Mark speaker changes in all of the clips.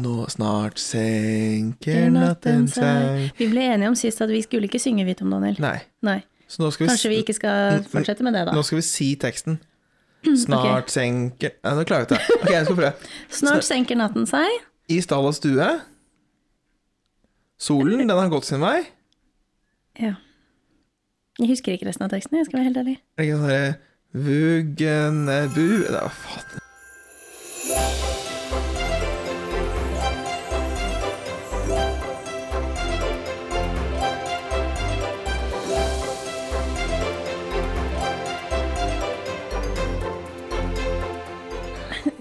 Speaker 1: Nå snart senker natten seg
Speaker 2: Vi ble enige om sist at vi skulle ikke synge hvit om Daniel.
Speaker 1: Nei.
Speaker 2: Nei.
Speaker 1: Så nå skal vi, s-
Speaker 2: Kanskje vi ikke skal fortsette med det, da.
Speaker 1: Nå skal vi si teksten. Snart senker Nei, nå klarer jeg ikke det. Ok, jeg skal prøve.
Speaker 2: Snart senker natten seg.
Speaker 1: I stall og stue. Solen, den har gått sin vei.
Speaker 2: Ja. Jeg husker ikke resten av teksten, jeg skal være helt ærlig.
Speaker 1: Er det ikke sånn derre Vuggen er bu Nei, hva faen.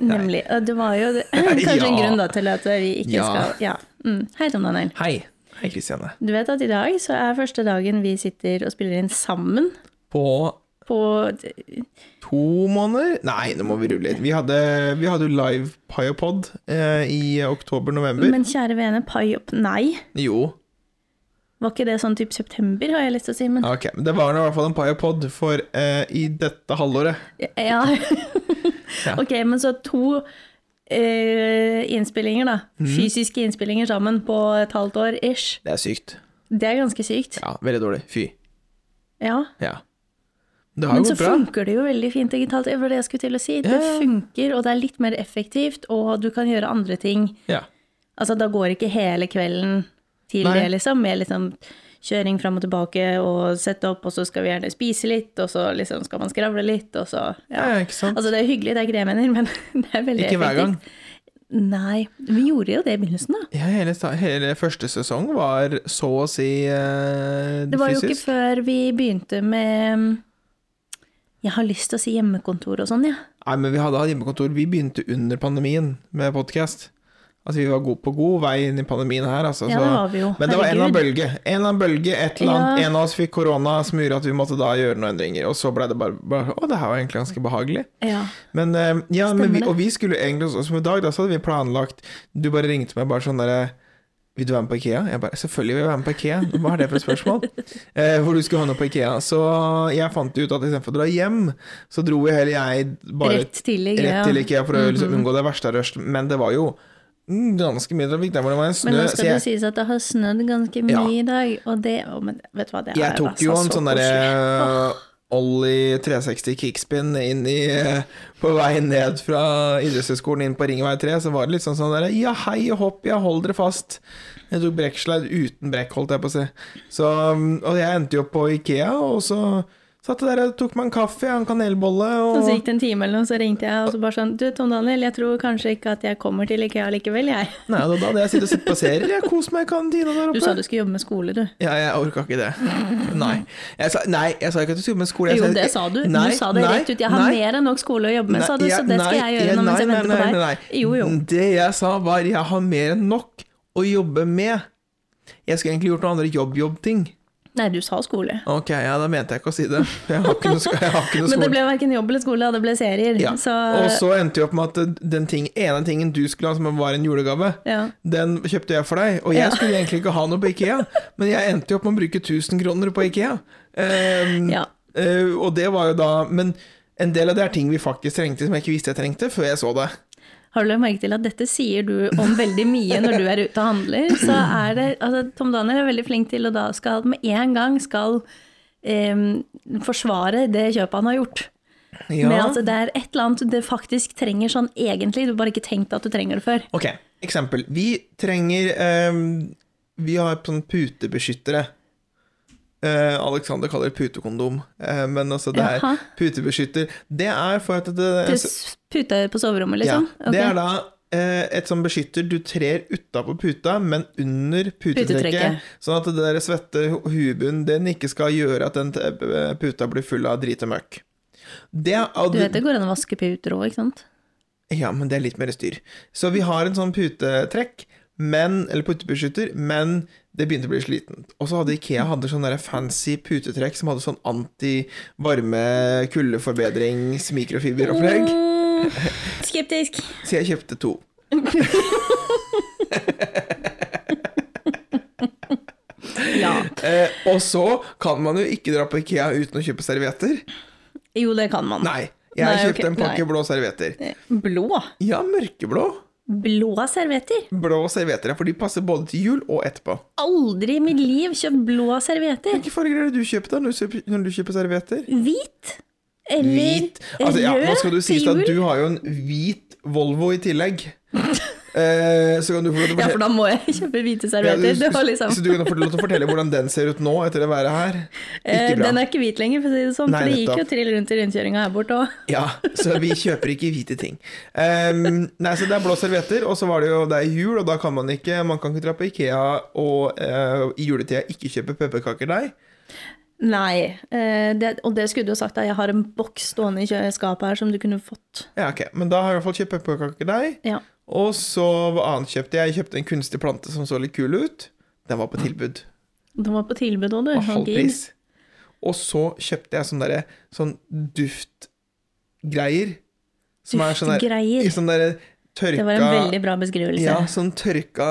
Speaker 2: Nemlig. Og det var jo det- kanskje en
Speaker 1: Ja.
Speaker 2: grunn da til at vi ikke
Speaker 1: Ja.
Speaker 2: skal Ja. Mm. Hei, Tom Daniel.
Speaker 1: Hei. Hei, Kristiane.
Speaker 2: Du vet at i dag så er første dagen vi sitter og spiller inn sammen
Speaker 1: På
Speaker 2: på
Speaker 1: to måneder Nei, nå må vi rulle litt. Vi hadde, vi hadde jo live Piopod eh, i oktober-november.
Speaker 2: Men kjære vene, pai opp nei.
Speaker 1: Jo.
Speaker 2: Var ikke det sånn type september, har jeg lyst til å si, men
Speaker 1: Ok, men det var nå i hvert fall en Piopod for eh, i dette halvåret.
Speaker 2: Ja. ok, men så to eh, innspillinger, da.
Speaker 1: Mhm.
Speaker 2: Fysiske innspillinger sammen på et halvt år ish.
Speaker 1: Det er sykt.
Speaker 2: Det er ganske sykt.
Speaker 1: Ja, veldig dårlig. Fy.
Speaker 2: Ja.
Speaker 1: Ja. Det har
Speaker 2: Men
Speaker 1: jo
Speaker 2: så
Speaker 1: gått bra.
Speaker 2: funker det jo veldig fint digitalt. Det var det jeg skulle til å si. Det
Speaker 1: Ja.
Speaker 2: funker, og det er litt mer effektivt, og du kan gjøre andre ting.
Speaker 1: Ja.
Speaker 2: Altså, da går ikke hele kvelden til
Speaker 1: Nei.
Speaker 2: det, liksom, med liksom kjøring fram og tilbake og sette opp, og så skal vi gjerne spise litt, og så liksom skal man skravle litt, og så
Speaker 1: ja,
Speaker 2: ja.
Speaker 1: ikke sant.
Speaker 2: Altså, det er hyggelig, det er ikke det jeg mener, men det er veldig
Speaker 1: Ikke hver gang.
Speaker 2: Nei, vi gjorde jo det i begynnelsen, da.
Speaker 1: Ja, hele, sta- hele første sesong var så å si eh,
Speaker 2: Det var jo ikke
Speaker 1: fysisk.
Speaker 2: før vi begynte med mm, Jeg har lyst til å si hjemmekontor og sånn, ja.
Speaker 1: Nei, men vi hadde hatt hjemmekontor. Vi begynte under pandemien med podkast. Altså, vi var god på god vei inn i pandemien her, altså.
Speaker 2: Ja,
Speaker 1: så-
Speaker 2: det var vi jo.
Speaker 1: Men det var en eller annen
Speaker 2: Herregud.
Speaker 1: bølge. En eller annen bølge, et eller annet.
Speaker 2: Ja.
Speaker 1: En av oss fikk korona som gjorde at vi måtte da gjøre noen endringer. Og så blei det bare, bare Å, det her var egentlig ganske behagelig.
Speaker 2: ja.
Speaker 1: Men, eh, ja, men vi,
Speaker 2: det.
Speaker 1: og vi skulle egentlig også- Som i dag, da, så hadde vi planlagt Du bare ringte meg bare sånn derre Vil du være med på Ikea? Jeg bare Selvfølgelig vil jeg være med på Ikea. Hva er det for et spørsmål? Eh, hvor du skulle ha noe på Ikea. Så jeg fant ut at istedenfor å dra hjem, så dro jo heller jeg bare
Speaker 2: Rett til Mhm. i
Speaker 1: rett
Speaker 2: greia.
Speaker 1: til Ikea for å liksom, unngå det verste av rush. Men det var jo mm, ganske mye trafikk. Der hvor det var en snø.
Speaker 2: Men nå
Speaker 1: så
Speaker 2: skal
Speaker 1: jeg,
Speaker 2: det sies at det har snødd ganske mye
Speaker 1: Ja.
Speaker 2: i dag, og det å, Men vet du hva, det
Speaker 1: jeg
Speaker 2: er altså
Speaker 1: tok jo en sånn derre Ollie 360 kickspin inn i, eh, på vei ned fra idrettshøyskolen inn på Ringvei 3, så var det litt sånn sånn derre Ja, hei og hopp, ja, hold dere fast. Jeg tok brekkslide uten brekk, holdt jeg på å si. Så, um, og jeg endte jo opp på Ikea, og så satt jeg der og tok meg en kaffe, en kanelbolle
Speaker 2: Og så
Speaker 1: og
Speaker 2: gikk det en time eller noe, så ringte jeg og så bare sånn Du, Tom Daniel, jeg tror kanskje ikke at jeg kommer til Ikea likevel, jeg.
Speaker 1: Nei, og da hadde jeg sittet og sett på serier, jeg koste meg i kantina der
Speaker 2: Du sa
Speaker 1: oppe.
Speaker 2: du skulle jobbe med skole, du.
Speaker 1: Ja, jeg orka ikke det. Nei. Jeg sa, nei, jeg sa ikke at du skulle jobbe med skole. Jeg
Speaker 2: Jo, det sa du.
Speaker 1: Nei,
Speaker 2: du sa det
Speaker 1: nei,
Speaker 2: rett ut. Jeg har
Speaker 1: nei.
Speaker 2: mer enn nok skole å jobbe med, sa du,
Speaker 1: Nei,
Speaker 2: så det skal
Speaker 1: nei,
Speaker 2: jeg gjøre nå mens jeg
Speaker 1: nei,
Speaker 2: venter
Speaker 1: nei, nei,
Speaker 2: på deg.
Speaker 1: nei.
Speaker 2: Jo, jo.
Speaker 1: Det jeg sa var jeg har mer enn nok å jobbe med. Jeg skulle egentlig gjort noen andre jobb-jobb-ting.
Speaker 2: Nei, du sa skole.
Speaker 1: Ok, ja, da mente jeg ikke å si det. for Jeg har ikke noe, sk- jeg har ikke noe
Speaker 2: Men det
Speaker 1: skole.
Speaker 2: ble verken jobb eller skole, og det ble serier.
Speaker 1: Ja.
Speaker 2: Så
Speaker 1: Og så endte jeg opp med at den ting, ene tingen du skulle ha som var en julegave,
Speaker 2: ja.
Speaker 1: den kjøpte jeg for deg. Og jeg
Speaker 2: Ja.
Speaker 1: skulle egentlig ikke ha noe på Ikea, men jeg endte jo opp med å bruke 1000 kroner på Ikea. Ehm,
Speaker 2: Ja.
Speaker 1: eh, og det var jo da Men en del av det er ting vi faktisk trengte som jeg ikke visste jeg trengte, før jeg så det.
Speaker 2: Har du lagt merke til at dette sier du om veldig mye når du er ute og handler? Så er det, altså Tom Daniel er veldig flink til å da skal med en gang skal em, forsvare det kjøpet han har gjort.
Speaker 1: Ja.
Speaker 2: Med altså, at det er et eller annet det faktisk trenger sånn egentlig, du har bare ikke tenkt at du trenger det før.
Speaker 1: Ok, eksempel. Vi trenger ehm, Vi har sånn putebeskyttere. Eh, Alexander kaller det putekondom, eh, men altså det er
Speaker 2: Jaha.
Speaker 1: putebeskytter. Det er for at det, altså,
Speaker 2: Til s- Pute på soverommet,
Speaker 1: Eh, ja,
Speaker 2: liksom?
Speaker 1: det
Speaker 2: Ok.
Speaker 1: er da eh, et sånn beskytter du trer utapå puta, men under putetrekket.
Speaker 2: Putetrekket.
Speaker 1: Sånn at det der svette hu- huebunnen din ikke skal gjøre at den eh, puta blir full av drit og møkk. Det, er- og
Speaker 2: Du
Speaker 1: det-
Speaker 2: vet det går an å vaske puter òg, ikke sant?
Speaker 1: Ja, men det er litt mer styr. Så vi har en sånn putetrekk, men, eller putebeskytter, men det begynte å bli slitent. Og så hadde Ikea hadde sånn der fancy putetrekk som hadde sånn anti-varme-kuldeforbedrings-mikrofiberopplegg.
Speaker 2: Mm, skeptisk.
Speaker 1: Så jeg kjøpte to.
Speaker 2: Ja.
Speaker 1: Eh, og så kan man jo ikke dra på Ikea uten å kjøpe servietter.
Speaker 2: Jo, det kan man.
Speaker 1: Nei, jeg
Speaker 2: Nei,
Speaker 1: kjøpte
Speaker 2: ok,
Speaker 1: en pakke
Speaker 2: nei.
Speaker 1: blå servietter.
Speaker 2: Blå?
Speaker 1: Ja, mørkeblå.
Speaker 2: blå servietter.
Speaker 1: Blå servietter, ja, for de passer både til jul og etterpå.
Speaker 2: Aldri i mitt liv kjøpt blå servietter.
Speaker 1: Hvilke farger er det du kjøper da når du kjøper, når du kjøper servietter?
Speaker 2: Hvit eller
Speaker 1: Hvit. Altså, ja, nå skal
Speaker 2: rød
Speaker 1: du sies
Speaker 2: til
Speaker 1: at
Speaker 2: jul.
Speaker 1: du har jo en hvit Volvo i tillegg. Eh, så kan du få lov til å
Speaker 2: Ja, for
Speaker 1: fortelle-
Speaker 2: da må jeg kjøpe hvite
Speaker 1: Ja,
Speaker 2: servietter.
Speaker 1: du-
Speaker 2: det var liksom
Speaker 1: Så du kan få lov til å fortelle hvordan den ser ut nå, etter å være her.
Speaker 2: Eh,
Speaker 1: Ikke bra.
Speaker 2: Den er ikke hvit lenger, for å si det sånn.
Speaker 1: Nei,
Speaker 2: for det gikk
Speaker 1: nettopp.
Speaker 2: jo trill rundt i rundkjøringa her borte òg.
Speaker 1: Ja, så vi kjøper ikke hvite ting. Ehm, nei, så det er blå servietter, og så var det jo det er jul, og da kan man ikke Man kan ikke dra på Ikea og eh, i juletida ikke kjøpe pepperkakedeig.
Speaker 2: Nei. Eh, det, og det skulle du jo sagt, da. Jeg har en boks stående i kjø- skapet her som du kunne fått.
Speaker 1: Ja, ok, men da har jeg i hvert fall kjøpt pepperkakedeig.
Speaker 2: Ja.
Speaker 1: Og så hva annet kjøpte jeg? Jeg kjøpte en kunstig plante som så litt kul ut. Den var på tilbud.
Speaker 2: Den var på tilbud òg, du.
Speaker 1: På
Speaker 2: Sånn
Speaker 1: halv
Speaker 2: gig.
Speaker 1: pris. Og så kjøpte jeg sånn derre sånn duftgreier. Som er sånn der, i
Speaker 2: Duftgreier.
Speaker 1: sånn derre
Speaker 2: Det var en veldig
Speaker 1: tørka
Speaker 2: bra beskrivelse.
Speaker 1: Ja, sånn tørka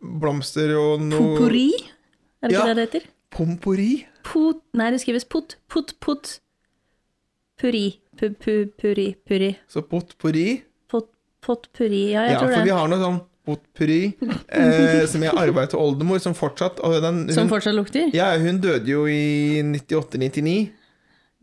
Speaker 1: blomster og noe
Speaker 2: Potpourri, er det ikke
Speaker 1: Ja.
Speaker 2: det det heter?
Speaker 1: Pompori?
Speaker 2: Pot, nei, det skrives pot, pot, pot. Puri, pu, pu, puri, puri.
Speaker 1: Så potpori.
Speaker 2: Pot, potpurri, ja, jeg
Speaker 1: Ja, for
Speaker 2: tror
Speaker 1: vi
Speaker 2: det.
Speaker 1: har noe sånn potpori eh, som jeg arva til oldemor, som fortsatt og den,
Speaker 2: Som
Speaker 1: hun,
Speaker 2: fortsatt lukter?
Speaker 1: ja, hun døde jo i 98-99.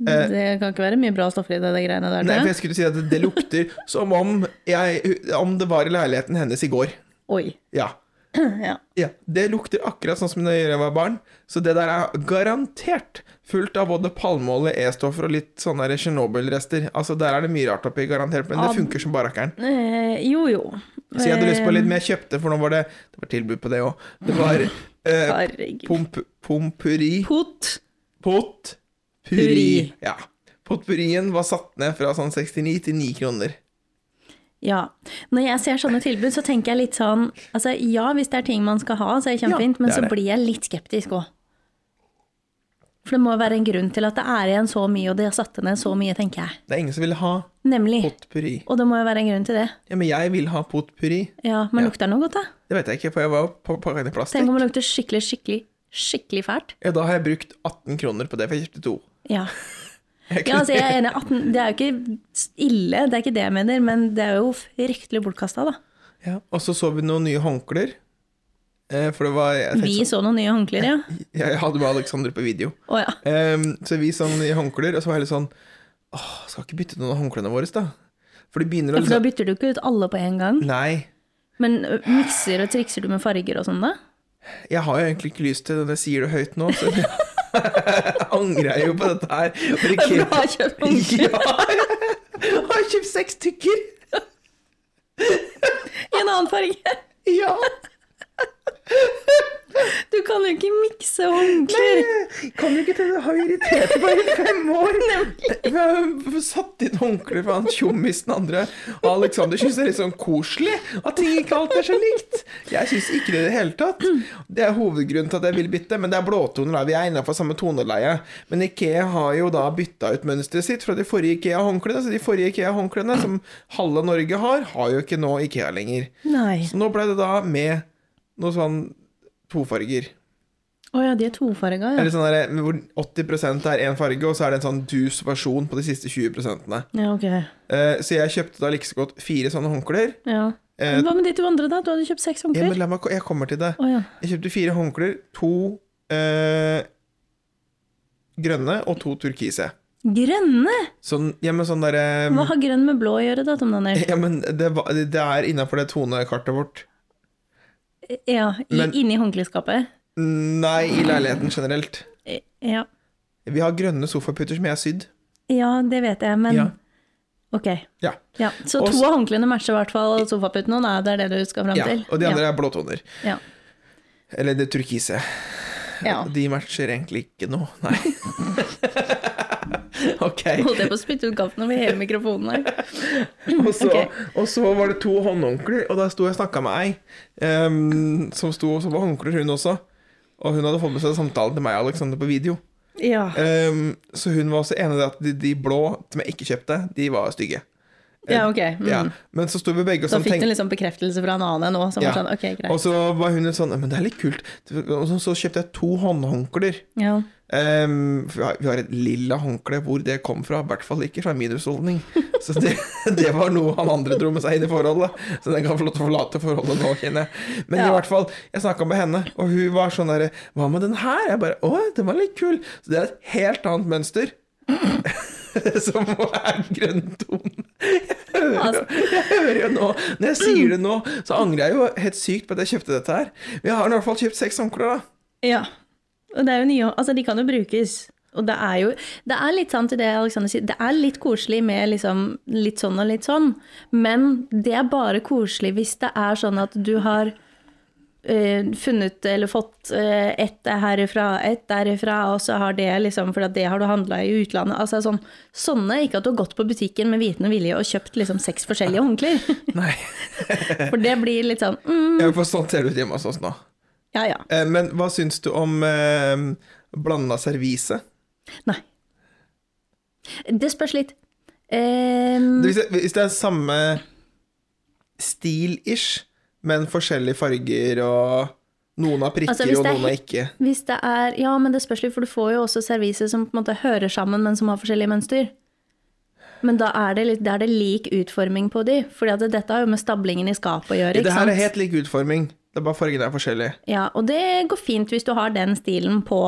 Speaker 2: Det kan ikke være mye bra stoffer i det, det greiene der.
Speaker 1: eh, Nei,
Speaker 2: tror
Speaker 1: for
Speaker 2: jeg.
Speaker 1: jeg skulle si at det, det lukter som om, jeg, om det var i leiligheten hennes i går.
Speaker 2: Oi.
Speaker 1: Ja.
Speaker 2: Ja.
Speaker 1: ja. Det lukter akkurat sånn som det gjør jeg var barn. Så det der er garantert fullt av både palmeolje, E-stoffer og litt sånne der Tsjernobyl-rester. Altså, der er det mye rart oppi, garantert, men det
Speaker 2: Ja.
Speaker 1: funker som barrakkeren.
Speaker 2: Eh, jo, jo.
Speaker 1: Så jeg hadde lyst på
Speaker 2: Eh,
Speaker 1: litt, men jeg kjøpte, for nå var det Det var tilbud på det òg. Det var eh,
Speaker 2: Herregud.
Speaker 1: pomp, pompuri
Speaker 2: Pot.
Speaker 1: Potpuri.
Speaker 2: Puri.
Speaker 1: Ja. Potpurien var satt ned fra sånn 69 til 9 kroner.
Speaker 2: Ja. Når jeg ser sånne tilbud, så tenker jeg litt sånn Altså ja, hvis det er ting man skal ha, så er det kjempefint,
Speaker 1: Ja, det
Speaker 2: men
Speaker 1: er
Speaker 2: så
Speaker 1: det.
Speaker 2: blir jeg litt skeptisk òg. For det må være en grunn til at det er igjen så mye, og de har satt ned så mye, tenker jeg.
Speaker 1: Det er ingen som vil ha
Speaker 2: Nemlig.
Speaker 1: potpuri.
Speaker 2: Og det må jo være en grunn til det.
Speaker 1: Ja, men jeg vil ha potpuri.
Speaker 2: Ja, men
Speaker 1: Ja.
Speaker 2: lukter den noe godt, da?
Speaker 1: Det vet jeg ikke, for jeg var jo på pakka inn i
Speaker 2: Tenk
Speaker 1: plastikk.
Speaker 2: om det lukter skikkelig, skikkelig, skikkelig fælt.
Speaker 1: Ja, da har jeg brukt 18 kroner på det, for jeg kjøpte to.
Speaker 2: Ja.
Speaker 1: Jeg
Speaker 2: ja,
Speaker 1: kunne-
Speaker 2: altså jeg er enig. 18, det er jo ikke ille, det er ikke det jeg mener, men det er jo fryktelig bortkasta, da.
Speaker 1: Ja, Og så så vi noen nye håndklær. Eh, For det var Jeg, tenkte
Speaker 2: Vi så noen nye håndklær, ja.
Speaker 1: sånn, jeg hadde med Alexander på video.
Speaker 2: Å ja.
Speaker 1: Ehm, så vi sånn i håndklær, og så var jeg litt sånn Åh, skal ikke bytte noen av håndklærne våre, da? For de begynner å
Speaker 2: Ja, For da
Speaker 1: liksom
Speaker 2: bytter du ikke ut alle på en gang.
Speaker 1: Nei.
Speaker 2: Men ø, mikser og trikser du med farger og sånn, da?
Speaker 1: Jeg har jo egentlig ikke lyst til det, når jeg sier det høyt nå, så angrer jeg jo på dette her. For
Speaker 2: For du
Speaker 1: ikke-
Speaker 2: har kjøpt
Speaker 1: Ja!
Speaker 2: håndklær
Speaker 1: Jeg har kjøpt seks stykker!
Speaker 2: i en annen farge!
Speaker 1: Ja!
Speaker 2: Du kan jo ikke mikse håndklær!
Speaker 1: Kommer ikke til det, har jo irritert meg i fem år. Jeg har satt inn håndkle for han tjommis den andre. Og Alexander syns det er litt sånn koselig at ting ikke alt er så likt. Jeg syns ikke det i det hele tatt. Det er hovedgrunnen til at jeg vil bytte, men det er blåtoner. da. Vi er innafor samme toneleie. Men Ikea har jo da bytta ut mønsteret sitt fra de forrige Ikea-håndklærne. Så de forrige Ikea-håndklærne som halve Norge har, har jo ikke nå Ikea lenger.
Speaker 2: Nei.
Speaker 1: Så nå ble det da med noe sånn tofarger.
Speaker 2: Å ja, de er tofarga, ja.
Speaker 1: Eller sånn der, hvor 80 er én farge, og så er det en sånn dus versjon på de siste 20
Speaker 2: Ja, ok.
Speaker 1: Eh, Så jeg kjøpte da like så godt fire sånne håndklær.
Speaker 2: Ja.
Speaker 1: Eh,
Speaker 2: Men Hva med de to andre, da? Du hadde kjøpt seks
Speaker 1: Ja, men
Speaker 2: håndklær?
Speaker 1: la meg, ko- jeg kommer til det.
Speaker 2: Å ja.
Speaker 1: Jeg kjøpte fire håndklær. To eh, grønne og to turkise.
Speaker 2: Grønne!
Speaker 1: Sånn, ja, men sånn derre
Speaker 2: Hva har grønn med blå å gjøre, da, Tom Daniel?
Speaker 1: ja, men det, var- det er innafor det tonekartet vårt.
Speaker 2: Ja, i,
Speaker 1: Eh, Men-
Speaker 2: inni håndkleskapet?
Speaker 1: Nei, i leiligheten generelt.
Speaker 2: Eh, Ja.
Speaker 1: Vi har grønne sofaputer som jeg har sydd.
Speaker 2: ja, det vet jeg, men
Speaker 1: Ja.
Speaker 2: Ok.
Speaker 1: Ja.
Speaker 2: Ja. Så
Speaker 1: Og
Speaker 2: to
Speaker 1: så-
Speaker 2: av håndklærne matcher i hvert fall sofaputen nå, da. Det er det du skal fram
Speaker 1: ja.
Speaker 2: til?
Speaker 1: Og de andre er blåtoner.
Speaker 2: Ja.
Speaker 1: Eller det turkise.
Speaker 2: ja.
Speaker 1: De matcher egentlig ikke noe, nei. ok.
Speaker 2: Holdt jeg på å spytte ut kaffen over hele mikrofonen her.
Speaker 1: Og så,
Speaker 2: Ok.
Speaker 1: og så var det to håndhåndklær, og da sto jeg og snakka med ei ehm, som sto og så var håndklær, hun også. Og hun hadde fått med seg samtalen til meg og Alexander på video.
Speaker 2: Ja.
Speaker 1: Ehm, så hun var også enig i det at de, de blå som jeg ikke kjøpte, de var stygge.
Speaker 2: Ja, ok. Mm.
Speaker 1: Ja. Men så sto vi begge og
Speaker 2: Da
Speaker 1: sånn
Speaker 2: fikk du
Speaker 1: tenkte
Speaker 2: liksom bekreftelse fra en annen nå, som
Speaker 1: Ja.
Speaker 2: var sånn ok, greit.
Speaker 1: Og så var hun litt sånn Men det er litt kult. Og så, så kjøpte jeg to håndhåndklær.
Speaker 2: Ja.
Speaker 1: Ehm, for vi har- vi har et lilla håndkle. Hvor det kom fra, i hvert fall ikke fra min husholdning. Så det, det var noe han andre dro med seg inn i forholdet. Så den kan få lov til å forlate forholdet nå, kjenner jeg. Men i
Speaker 2: Ja.
Speaker 1: hvert fall, jeg snakka med henne, og hun var sånn derre Hva med den her? Jeg bare Å, den var litt kul. Så det er et helt annet mønster. Som er grønntone. Jeg hører, jo- jeg hører jo nå Når jeg sier det nå, så angrer jeg jo helt sykt på at jeg kjøpte dette her. Men jeg har i hvert fall kjøpt seks håndklær, da.
Speaker 2: Ja. Og det er jo nye Altså, de kan jo brukes. Og det er jo Det er litt sant til det Alexander sier. Det er litt koselig med liksom litt sånn og litt sånn, men det er bare koselig hvis det er sånn at du har eh, funnet eller fått eh, ett herifra, ett derifra, og så har det liksom For at det har du handla i utlandet. Altså sånn, sånne, ikke at du har gått på butikken med viten og vilje og kjøpt liksom seks forskjellige håndklær.
Speaker 1: Nei.
Speaker 2: For det blir litt sånn mm,
Speaker 1: Jeg får sånn ser det ut hjemme hos oss nå.
Speaker 2: Ja ja.
Speaker 1: Eh, Men hva syns du om eh, blanda servise?
Speaker 2: Nei. Det spørs litt. Ehm,
Speaker 1: Hvis det, hvis det er samme stil-ish, men forskjellige farger og Noen har prikker,
Speaker 2: Altså, hvis
Speaker 1: og
Speaker 2: det er
Speaker 1: noen har ikke.
Speaker 2: hvis det er Ja, men det spørs litt, for du får jo også serviser som på en måte hører sammen, men som har forskjellige mønster. Men da er det, litt, da er det lik utforming på de. For dette har jo med stablingen i skapet å gjøre. Ikke
Speaker 1: Det her
Speaker 2: sant?
Speaker 1: er helt lik utforming, det er bare fargene er forskjellige.
Speaker 2: Ja, og det går fint hvis du har den stilen på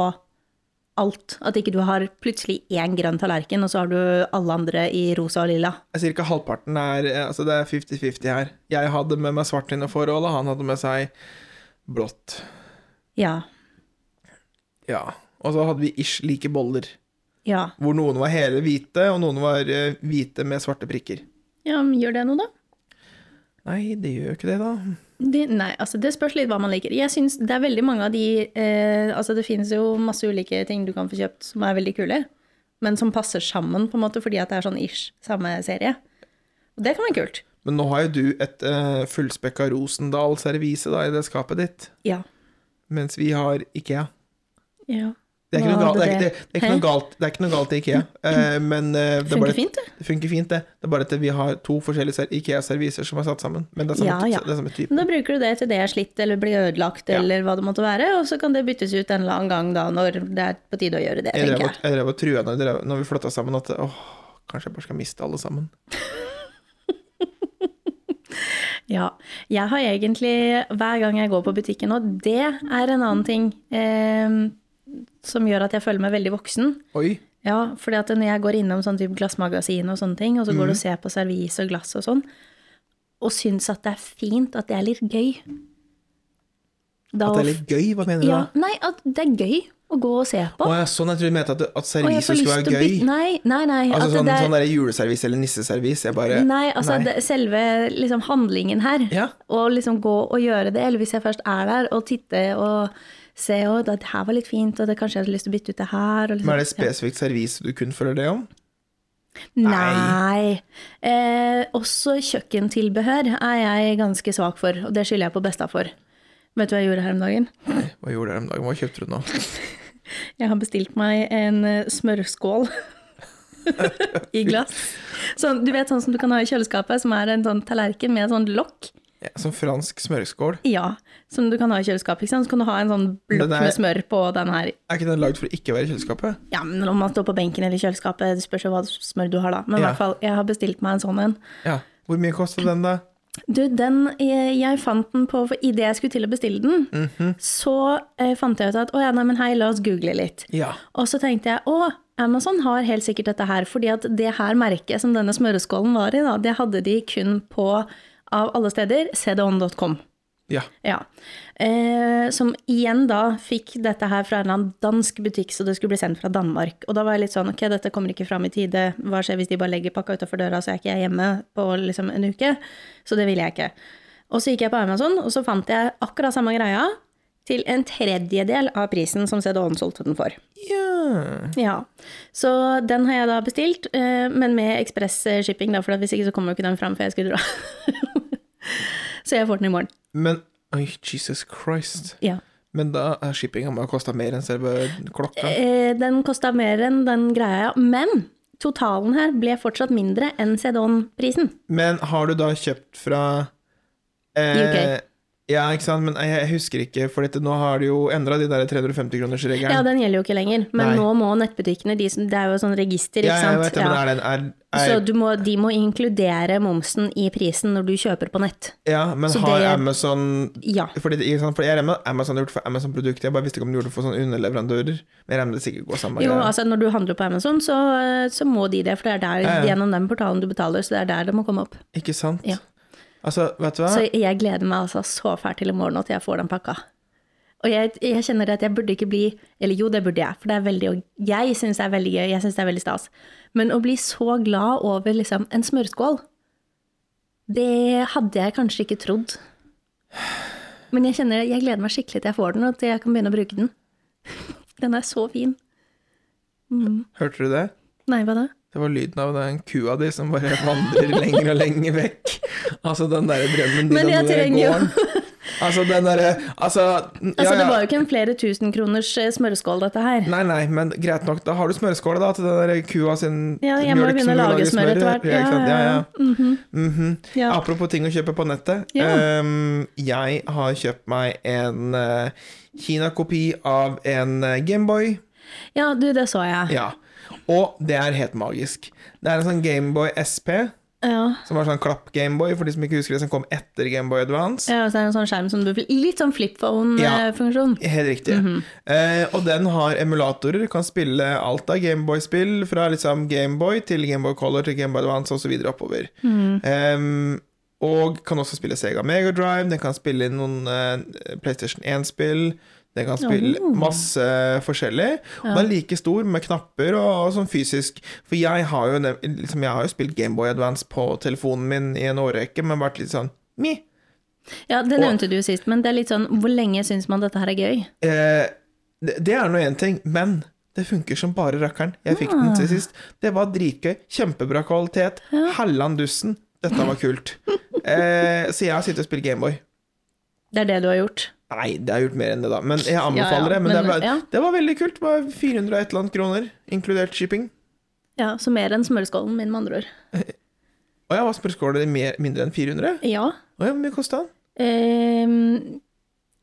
Speaker 2: alt. At ikke du har plutselig én grønn tallerken, og så har du alle andre i rosa og lilla.
Speaker 1: Jeg Ca. halvparten er eh, Altså, det er 50-50 her. Jeg hadde med meg svart innenforhold, og han hadde med seg blått.
Speaker 2: Ja.
Speaker 1: Ja. Og så hadde vi ish like boller,
Speaker 2: Ja.
Speaker 1: hvor noen var hele hvite, og noen var eh, hvite med svarte prikker.
Speaker 2: ja men gjør det noe, da?
Speaker 1: Nei, det gjør jo ikke det, da.
Speaker 2: Det, nei, altså det spørs litt hva man liker. Jeg synes Det er veldig mange av de eh, altså Det finnes jo masse ulike ting du kan få kjøpt som er veldig kule, men som passer sammen på en måte fordi at det er sånn ish samme serie. Og det kan være kult.
Speaker 1: Men nå har jo du et uh, fullspekka Rosendal-servise da, i det skapet ditt,
Speaker 2: Ja.
Speaker 1: mens vi har Ikea.
Speaker 2: ja.
Speaker 1: Det er ikke
Speaker 2: Hva
Speaker 1: noe galt, det
Speaker 2: hadde
Speaker 1: er, ikke- det, det er ikke noe
Speaker 2: Hæ? Mm.
Speaker 1: galt, det er ikke noe galt i Ikea, eh, men eh, det, er
Speaker 2: Funker
Speaker 1: bare,
Speaker 2: fint, det.
Speaker 1: det funker fint, det. Det er bare at vi har to forskjellige ser- Ikea-serviser som er satt sammen, men det er samme,
Speaker 2: Ja, ja. Mm,
Speaker 1: det er samme type.
Speaker 2: Men Da bruker du det til det er slitt eller blir ødelagt
Speaker 1: Ja.
Speaker 2: eller hva det måtte være, og så kan det byttes ut en eller annen gang da når det er på tide å gjøre det,
Speaker 1: Jeg drev
Speaker 2: tenker
Speaker 1: og-
Speaker 2: jeg.
Speaker 1: jeg drev og trua når jeg drev- når vi flytta sammen at åh, kanskje jeg bare skal miste alle sammen.
Speaker 2: Ja. Jeg har egentlig, hver gang jeg går på butikken, og det er en annen ting eh, som gjør at jeg føler meg veldig voksen.
Speaker 1: Oi.
Speaker 2: Ja, fordi at når jeg går innom sånn type glassmagasin og sånne ting, og så går
Speaker 1: Mm.
Speaker 2: du og ser på servis og glass og sånn, og syns at det er fint, at det er litt gøy da,
Speaker 1: At det er litt gøy, hva mener du
Speaker 2: ja,
Speaker 1: da?
Speaker 2: Nei, at det er gøy å gå og se på.
Speaker 1: Å ja, sånn jeg tror du mente at, at
Speaker 2: Og jeg får
Speaker 1: serviset skulle
Speaker 2: lyst
Speaker 1: være
Speaker 2: til å bytte-
Speaker 1: gøy.
Speaker 2: Nei, nei, nei.
Speaker 1: Altså
Speaker 2: at
Speaker 1: sånn,
Speaker 2: det er-
Speaker 1: sånn der juleservis eller nisseservis. Jeg bare
Speaker 2: Nei, altså Det, selve liksom, handlingen her.
Speaker 1: Ja.
Speaker 2: Å liksom gå og gjøre det, eller hvis jeg først er der, og titte og se at det her var litt fint, og det kanskje jeg hadde lyst til å bytte ut det her. Og liksom,
Speaker 1: Men er det
Speaker 2: ja.
Speaker 1: spesifikt servis du kun føler det om?
Speaker 2: Nei. Eh, også kjøkkentilbehør er jeg ganske svak for, og det skylder jeg på besta for. Vet du hva jeg gjorde her om dagen?
Speaker 1: Hva gjorde dere om dagen? Hva kjøpte du nå?
Speaker 2: Jeg har bestilt meg en eh, smørskål i glass. Sånn, du vet sånn som du kan ha i kjøleskapet, som er en sånn tallerken med sånn lokk?
Speaker 1: Ja, som fransk smørskål.
Speaker 2: Ja, som du kan ha i kjøleskapet. ikke sant? Så kan du ha en sånn blokk
Speaker 1: Den er-
Speaker 2: med smør på den her.
Speaker 1: Er ikke den lagd for å ikke være i kjøleskapet?
Speaker 2: Ja, men om man står på benken eller i kjøleskapet, det spørs jo hva smør du har da. Men i
Speaker 1: Ja.
Speaker 2: hvert fall, jeg har bestilt meg en sånn en.
Speaker 1: Ja. Hvor mye kosta den, da?
Speaker 2: Du, den, jeg, jeg fant den på for Idet jeg skulle til å bestille den, så eh, fant jeg ut at å ja, nei, men hei, la oss google litt.
Speaker 1: Ja.
Speaker 2: Og så tenkte jeg å, Amazon har helt sikkert dette her, fordi at det her merket som denne smøreskålen var i, da, det hadde de kun på, av alle steder, cdon.com.
Speaker 1: Ja.
Speaker 2: Ja. Eh, som igjen da fikk dette her fra en eller annen dansk butikk, så det skulle bli sendt fra Danmark. Og da var jeg litt sånn ok, dette kommer ikke fram i tide, hva skjer hvis de bare legger pakka utafor døra, så er ikke jeg hjemme på liksom en uke? Så det ville jeg ikke. Og så gikk jeg på Amazon, og så fant jeg akkurat samme greia til en tredjedel av prisen som CDON solgte den for.
Speaker 1: ja.
Speaker 2: Ja, Så den har jeg da bestilt, eh, men med ekspress-shipping, da, for at hvis ikke så kommer jo ikke den fram før jeg skulle dra. så jeg får den i morgen.
Speaker 1: Men Oi, Jesus Christ.
Speaker 2: Ja.
Speaker 1: Men da er shippinga må ha kosta mer enn selve klokka.
Speaker 2: Eh, den kosta mer enn den greia, men totalen her ble fortsatt mindre enn Sedon-prisen.
Speaker 1: Men har du da kjøpt fra
Speaker 2: UK.
Speaker 1: eh, Ja, ikke sant, men jeg, jeg husker ikke, for dette, nå har de jo endra de der 350-kronersregelen.
Speaker 2: Ja, den gjelder jo ikke lenger. Men
Speaker 1: Nei.
Speaker 2: nå må nettbutikkene de som, Det er jo sånn register,
Speaker 1: Ja,
Speaker 2: ikke
Speaker 1: jeg
Speaker 2: sant.
Speaker 1: vet det, men er den er, er,
Speaker 2: Så du må, de må inkludere momsen i prisen når du kjøper på nett.
Speaker 1: Ja, men
Speaker 2: så
Speaker 1: har
Speaker 2: det-
Speaker 1: Amazon
Speaker 2: Ja.
Speaker 1: fordi, det- ikke sant, fordi jeg regner med at Amazon har gjort for Amazon-produkter, jeg bare visste ikke om de gjorde det for sånne underleverandører. Men jeg regner med det sikkert går samme
Speaker 2: Jo,
Speaker 1: greia.
Speaker 2: altså Når du handler på Amazon, så, så må de det. For det er der,
Speaker 1: Ja, ja.
Speaker 2: gjennom den portalen du betaler, så det er der det må komme opp.
Speaker 1: Ikke sant?
Speaker 2: Ja.
Speaker 1: Altså, vet du hva?
Speaker 2: Så jeg gleder meg altså så fælt til i morgen at jeg får den pakka. Og jeg, jeg kjenner at jeg burde ikke bli Eller jo, det burde jeg, for det er veldig, jeg syns det er veldig gøy. Jeg synes det er veldig stas. Men å bli så glad over liksom, en smørskål, det hadde jeg kanskje ikke trodd. Men jeg kjenner, jeg gleder meg skikkelig til jeg får den, og til jeg kan begynne å bruke den. Den er så fin.
Speaker 1: Hørte du det?
Speaker 2: Nei, hva da?
Speaker 1: Det var lyden av den kua di som bare vandrer lenger og lenger vekk. Altså den derre drømmen din
Speaker 2: Men jeg
Speaker 1: om den der
Speaker 2: trenger jo-
Speaker 1: gården. Altså den derre Altså, ja,
Speaker 2: Altså,
Speaker 1: ja.
Speaker 2: Det var jo ikke en flere tusenkroners eh, smørskål, dette her.
Speaker 1: Nei, nei, men greit nok. Da har du smørskåla, da, til den der kua sin
Speaker 2: Ja, jeg må
Speaker 1: mjølk
Speaker 2: begynne
Speaker 1: som
Speaker 2: å
Speaker 1: du
Speaker 2: lage
Speaker 1: lager
Speaker 2: smør
Speaker 1: i.
Speaker 2: etter hvert.
Speaker 1: Ja, ikke sant? Ja, ja. Mhm.
Speaker 2: Ja.
Speaker 1: Apropos ting å kjøpe på nettet.
Speaker 2: Ja.
Speaker 1: Ehm, jeg har kjøpt meg en eh, Kina-kopi av en eh, Gameboy.
Speaker 2: Ja, du, det så jeg.
Speaker 1: Ja. Og det er helt magisk. Det er en sånn Gameboy SP.
Speaker 2: Ja.
Speaker 1: Som var sånn klapp-Gameboy, for de som ikke husker det, som kom etter Gameboy Advance.
Speaker 2: Ja, og så er det en sånn skjerm som du Litt sånn
Speaker 1: Ja.
Speaker 2: flipphone-funksjon.
Speaker 1: Helt riktig. eh, og den har emulatorer, kan spille alt av Gameboy-spill, fra liksom Gameboy til Gameboy Color til Gameboy Advance osv. oppover. Ehm, og kan også spille Sega Megadrive, den kan spille noen eh, PlayStation 1-spill. Den kan spille masse forskjellig. Og den er like stor med knapper og, og sånn fysisk. For jeg har jo, nev- liksom, jeg har jo spilt Gameboy Advance på telefonen min i en årrekke, men vært litt sånn mi.
Speaker 2: Ja, det
Speaker 1: Og-
Speaker 2: nevnte du sist, men det er litt sånn Hvor lenge syns man dette her er gøy?
Speaker 1: Eh, det, det er nå én ting, men det funker som bare rakkeren. Jeg fikk den
Speaker 2: Ah.
Speaker 1: til sist. Det var dritgøy. Kjempebra kvalitet. Halland dussen. Dette var kult. Eh, så jeg har sittet og spilt Gameboy.
Speaker 2: Det er det du har gjort.
Speaker 1: Nei, det har jeg gjort mer enn det, da. Men jeg anbefaler
Speaker 2: Ja, ja,
Speaker 1: det. Men, det,
Speaker 2: men-
Speaker 1: var,
Speaker 2: ja.
Speaker 1: det var veldig kult. Det var 400 og et eller annet kroner, inkludert shipping.
Speaker 2: Ja, Så mer enn smørskålen min, med andre ord.
Speaker 1: Å ja, var spørsmålet mer, mindre enn 400?
Speaker 2: Ja.
Speaker 1: Å ja, hvor mye kosta den?
Speaker 2: ehm,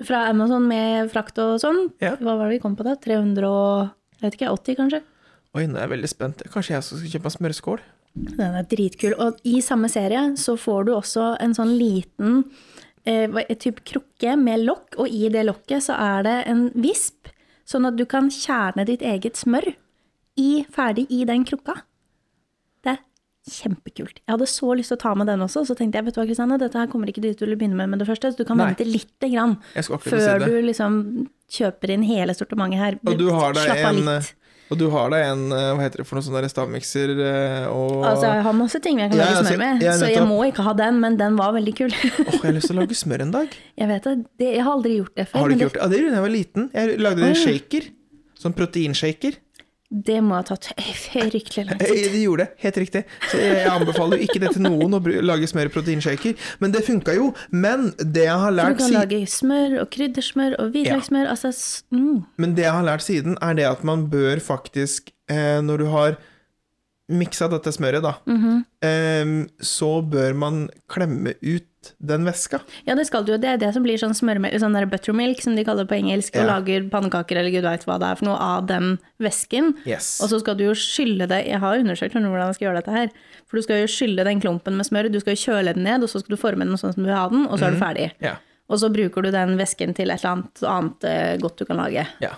Speaker 2: fra Amazon med frakt og sånn.
Speaker 1: Ja.
Speaker 2: Hva var det vi kom på da? 300 og jeg vet ikke, 80 kanskje?
Speaker 1: Oi, nå er jeg veldig spent. Kanskje jeg også skal kjøpe meg smørskål?
Speaker 2: Den er dritkul. Og i samme serie så får du også en sånn liten eh, hva- et type krukke med lokk, og i det lokket så er det en visp, sånn at du kan kjerne ditt eget smør i, ferdig i den krukka. Det er kjempekult. Jeg hadde så lyst til å ta med den også, så tenkte jeg vet du hva, Kristianne, dette her kommer ikke dit du vil begynne med med det første, så du kan
Speaker 1: Nei.
Speaker 2: vente lite grann
Speaker 1: Jeg skal akkurat si
Speaker 2: før
Speaker 1: det.
Speaker 2: du liksom kjøper inn hele sortimentet her.
Speaker 1: Og du har deg
Speaker 2: Slapp av
Speaker 1: en
Speaker 2: litt.
Speaker 1: Og du har deg en eh, Hva heter det for noe sånn der stavmikser eh, og
Speaker 2: Altså, jeg har masse ting jeg kan
Speaker 1: Ja,
Speaker 2: lage
Speaker 1: altså,
Speaker 2: smør med,
Speaker 1: ja,
Speaker 2: så jeg
Speaker 1: nettopp.
Speaker 2: må ikke ha den, men den var veldig kul.
Speaker 1: Åh, jeg har lyst til å lage smør en dag.
Speaker 2: Jeg vet det. det jeg har aldri gjort det før.
Speaker 1: Har du
Speaker 2: men
Speaker 1: ikke gjort det? Ja, det gjorde jeg da jeg var liten. Jeg lagde en shaker. Sånn proteinshaker.
Speaker 2: det? Det må ha tatt fryktelig lang tid.
Speaker 1: Eh, Det gjorde det, helt riktig. Så jeg anbefaler jo ikke det til noen å bru- lage smør i proteinshaker. Men det funka jo. Men det jeg har
Speaker 2: Du
Speaker 1: lært
Speaker 2: kan
Speaker 1: si-
Speaker 2: lage smør og kryddersmør og hvitløkssmør. Altså, s- mm.
Speaker 1: Men det jeg har lært siden, er det at man bør faktisk, eh, når du har miksa dette smøret, da,
Speaker 2: Mhm.
Speaker 1: eh, så bør man klemme ut den væska.
Speaker 2: Ja, det skal du jo. Det er det som blir sånn smørmelk, sånn der buttermilk som de kaller det på engelsk, og
Speaker 1: Ja.
Speaker 2: lager pannekaker eller gud veit hva det er for noe av den væsken.
Speaker 1: Yes.
Speaker 2: Og så skal du jo skylle det Jeg har undersøkt hvordan jeg skal gjøre dette her. For du skal jo skylle den klumpen med smør, du skal jo kjøle den ned, og så skal du forme den sånn som du vil ha den, og så er
Speaker 1: Mhm.
Speaker 2: du ferdig.
Speaker 1: Ja.
Speaker 2: Og så bruker du den væsken til et eller annet annet eh, godt du kan lage.
Speaker 1: ja.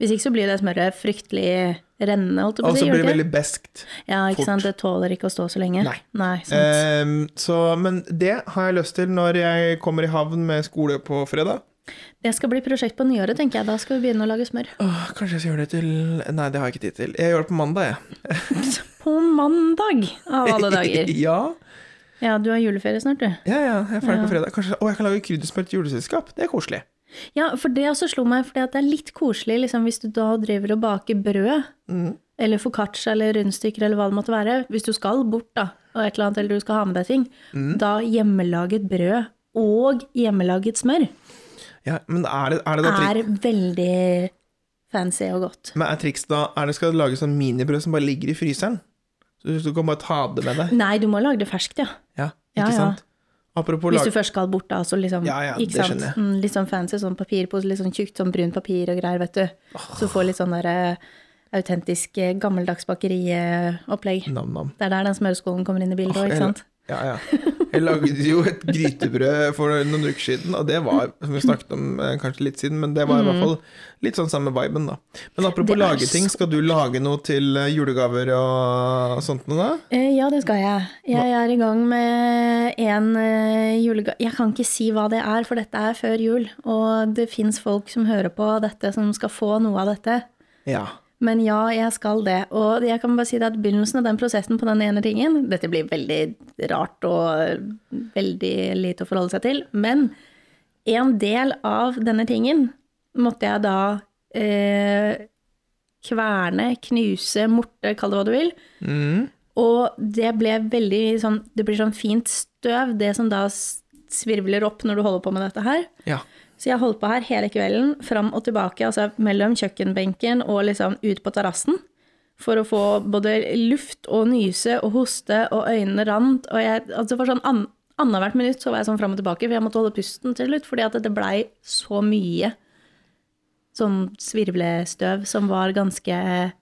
Speaker 2: Hvis ikke så blir det smøret fryktelig rennende, holdt jeg på
Speaker 1: Og
Speaker 2: å
Speaker 1: så
Speaker 2: si.
Speaker 1: blir
Speaker 2: gjør
Speaker 1: det
Speaker 2: det ikke
Speaker 1: veldig
Speaker 2: det?
Speaker 1: beskt.
Speaker 2: Ja, ikke
Speaker 1: fort.
Speaker 2: sant. Det tåler ikke å stå så lenge.
Speaker 1: Nei.
Speaker 2: sant.
Speaker 1: Ehm, så, men det har jeg lyst til når jeg kommer i havn med skole på fredag.
Speaker 2: Det skal bli prosjekt på nyåret, tenker jeg. Da skal vi begynne å lage smør.
Speaker 1: Åh, kanskje jeg skal gjøre det til Nei, det har jeg ikke tid til. Jeg gjør det på mandag, jeg.
Speaker 2: På mandag, av alle dager.
Speaker 1: ja,
Speaker 2: Ja, du har juleferie snart, du.
Speaker 1: ja, ja, jeg er ferdig på fredag. Kanskje, å, jeg kan lage kryddersmør til juleselskap. Det er koselig.
Speaker 2: Ja, for det også slo meg, for det er litt koselig liksom, hvis du da driver og baker brød,
Speaker 1: Mm.
Speaker 2: eller foccaccia eller rundstykker eller hva det måtte være, hvis du skal bort da, og et eller annet, eller du skal ha med deg ting,
Speaker 1: Mm.
Speaker 2: da hjemmelaget brød og hjemmelaget smør
Speaker 1: Ja, men er det, er det da
Speaker 2: er
Speaker 1: trik,
Speaker 2: veldig fancy og godt.
Speaker 1: men er triks da Er det skal du lage sånn minibrød som bare ligger i fryseren? Så du kan bare ta det med deg?
Speaker 2: Nei, du må lage det ferskt, ja.
Speaker 1: Ja,
Speaker 2: Ja,
Speaker 1: ikke
Speaker 2: ja.
Speaker 1: sant? Apropos
Speaker 2: Hvis du
Speaker 1: lag...
Speaker 2: først skal bort, da, så liksom
Speaker 1: Ja, ja, det
Speaker 2: ikke sant?
Speaker 1: skjønner jeg.
Speaker 2: Mm, Litt sånn fancy sånn papirpose, litt sånn tjukt sånn brunt papir og greier, vet du. Så får litt sånn der eh, autentisk eh, gammeldags eh, bakeriopplegg.
Speaker 1: Nam-nam.
Speaker 2: Det er der den smøreskolen kommer inn i bildet òg, ikke sant?
Speaker 1: Ja, ja. Jeg lagde jo et grytebrød for noen uker siden, og det var, som vi snakket om eh, kanskje litt siden, men det var i hvert fall litt sånn samme viben, da. Men apropos
Speaker 2: Mm. Det er
Speaker 1: lage ting, skal du lage noe til eh, julegaver og sånt noe da?
Speaker 2: Eh, Ja, det skal jeg. Jeg er i gang med en eh, julegave Jeg kan ikke si hva det er, for dette er før jul. Og det fins folk som hører på dette, som skal få noe av dette.
Speaker 1: Ja.
Speaker 2: Men ja, jeg skal det. Og jeg kan bare si det at begynnelsen av den prosessen på den ene tingen Dette blir veldig rart og veldig lite å forholde seg til. Men en del av denne tingen måtte jeg da eh, kverne, knuse, morte, kall det hva du vil.
Speaker 1: Mm,
Speaker 2: Og det ble veldig sånn Det blir sånn fint støv, det som da s- svirvler opp når du holder på med dette her.
Speaker 1: Ja.
Speaker 2: Så jeg holdt på her hele kvelden, fram og tilbake, altså mellom kjøkkenbenken og liksom ut på terrassen, for å få både luft og nyse og hoste, og øynene rant, og jeg, altså for sånn an, annethvert minutt så var jeg sånn fram og tilbake, for jeg måtte holde pusten til slutt, fordi at det blei så mye sånn svirvlestøv som var ganske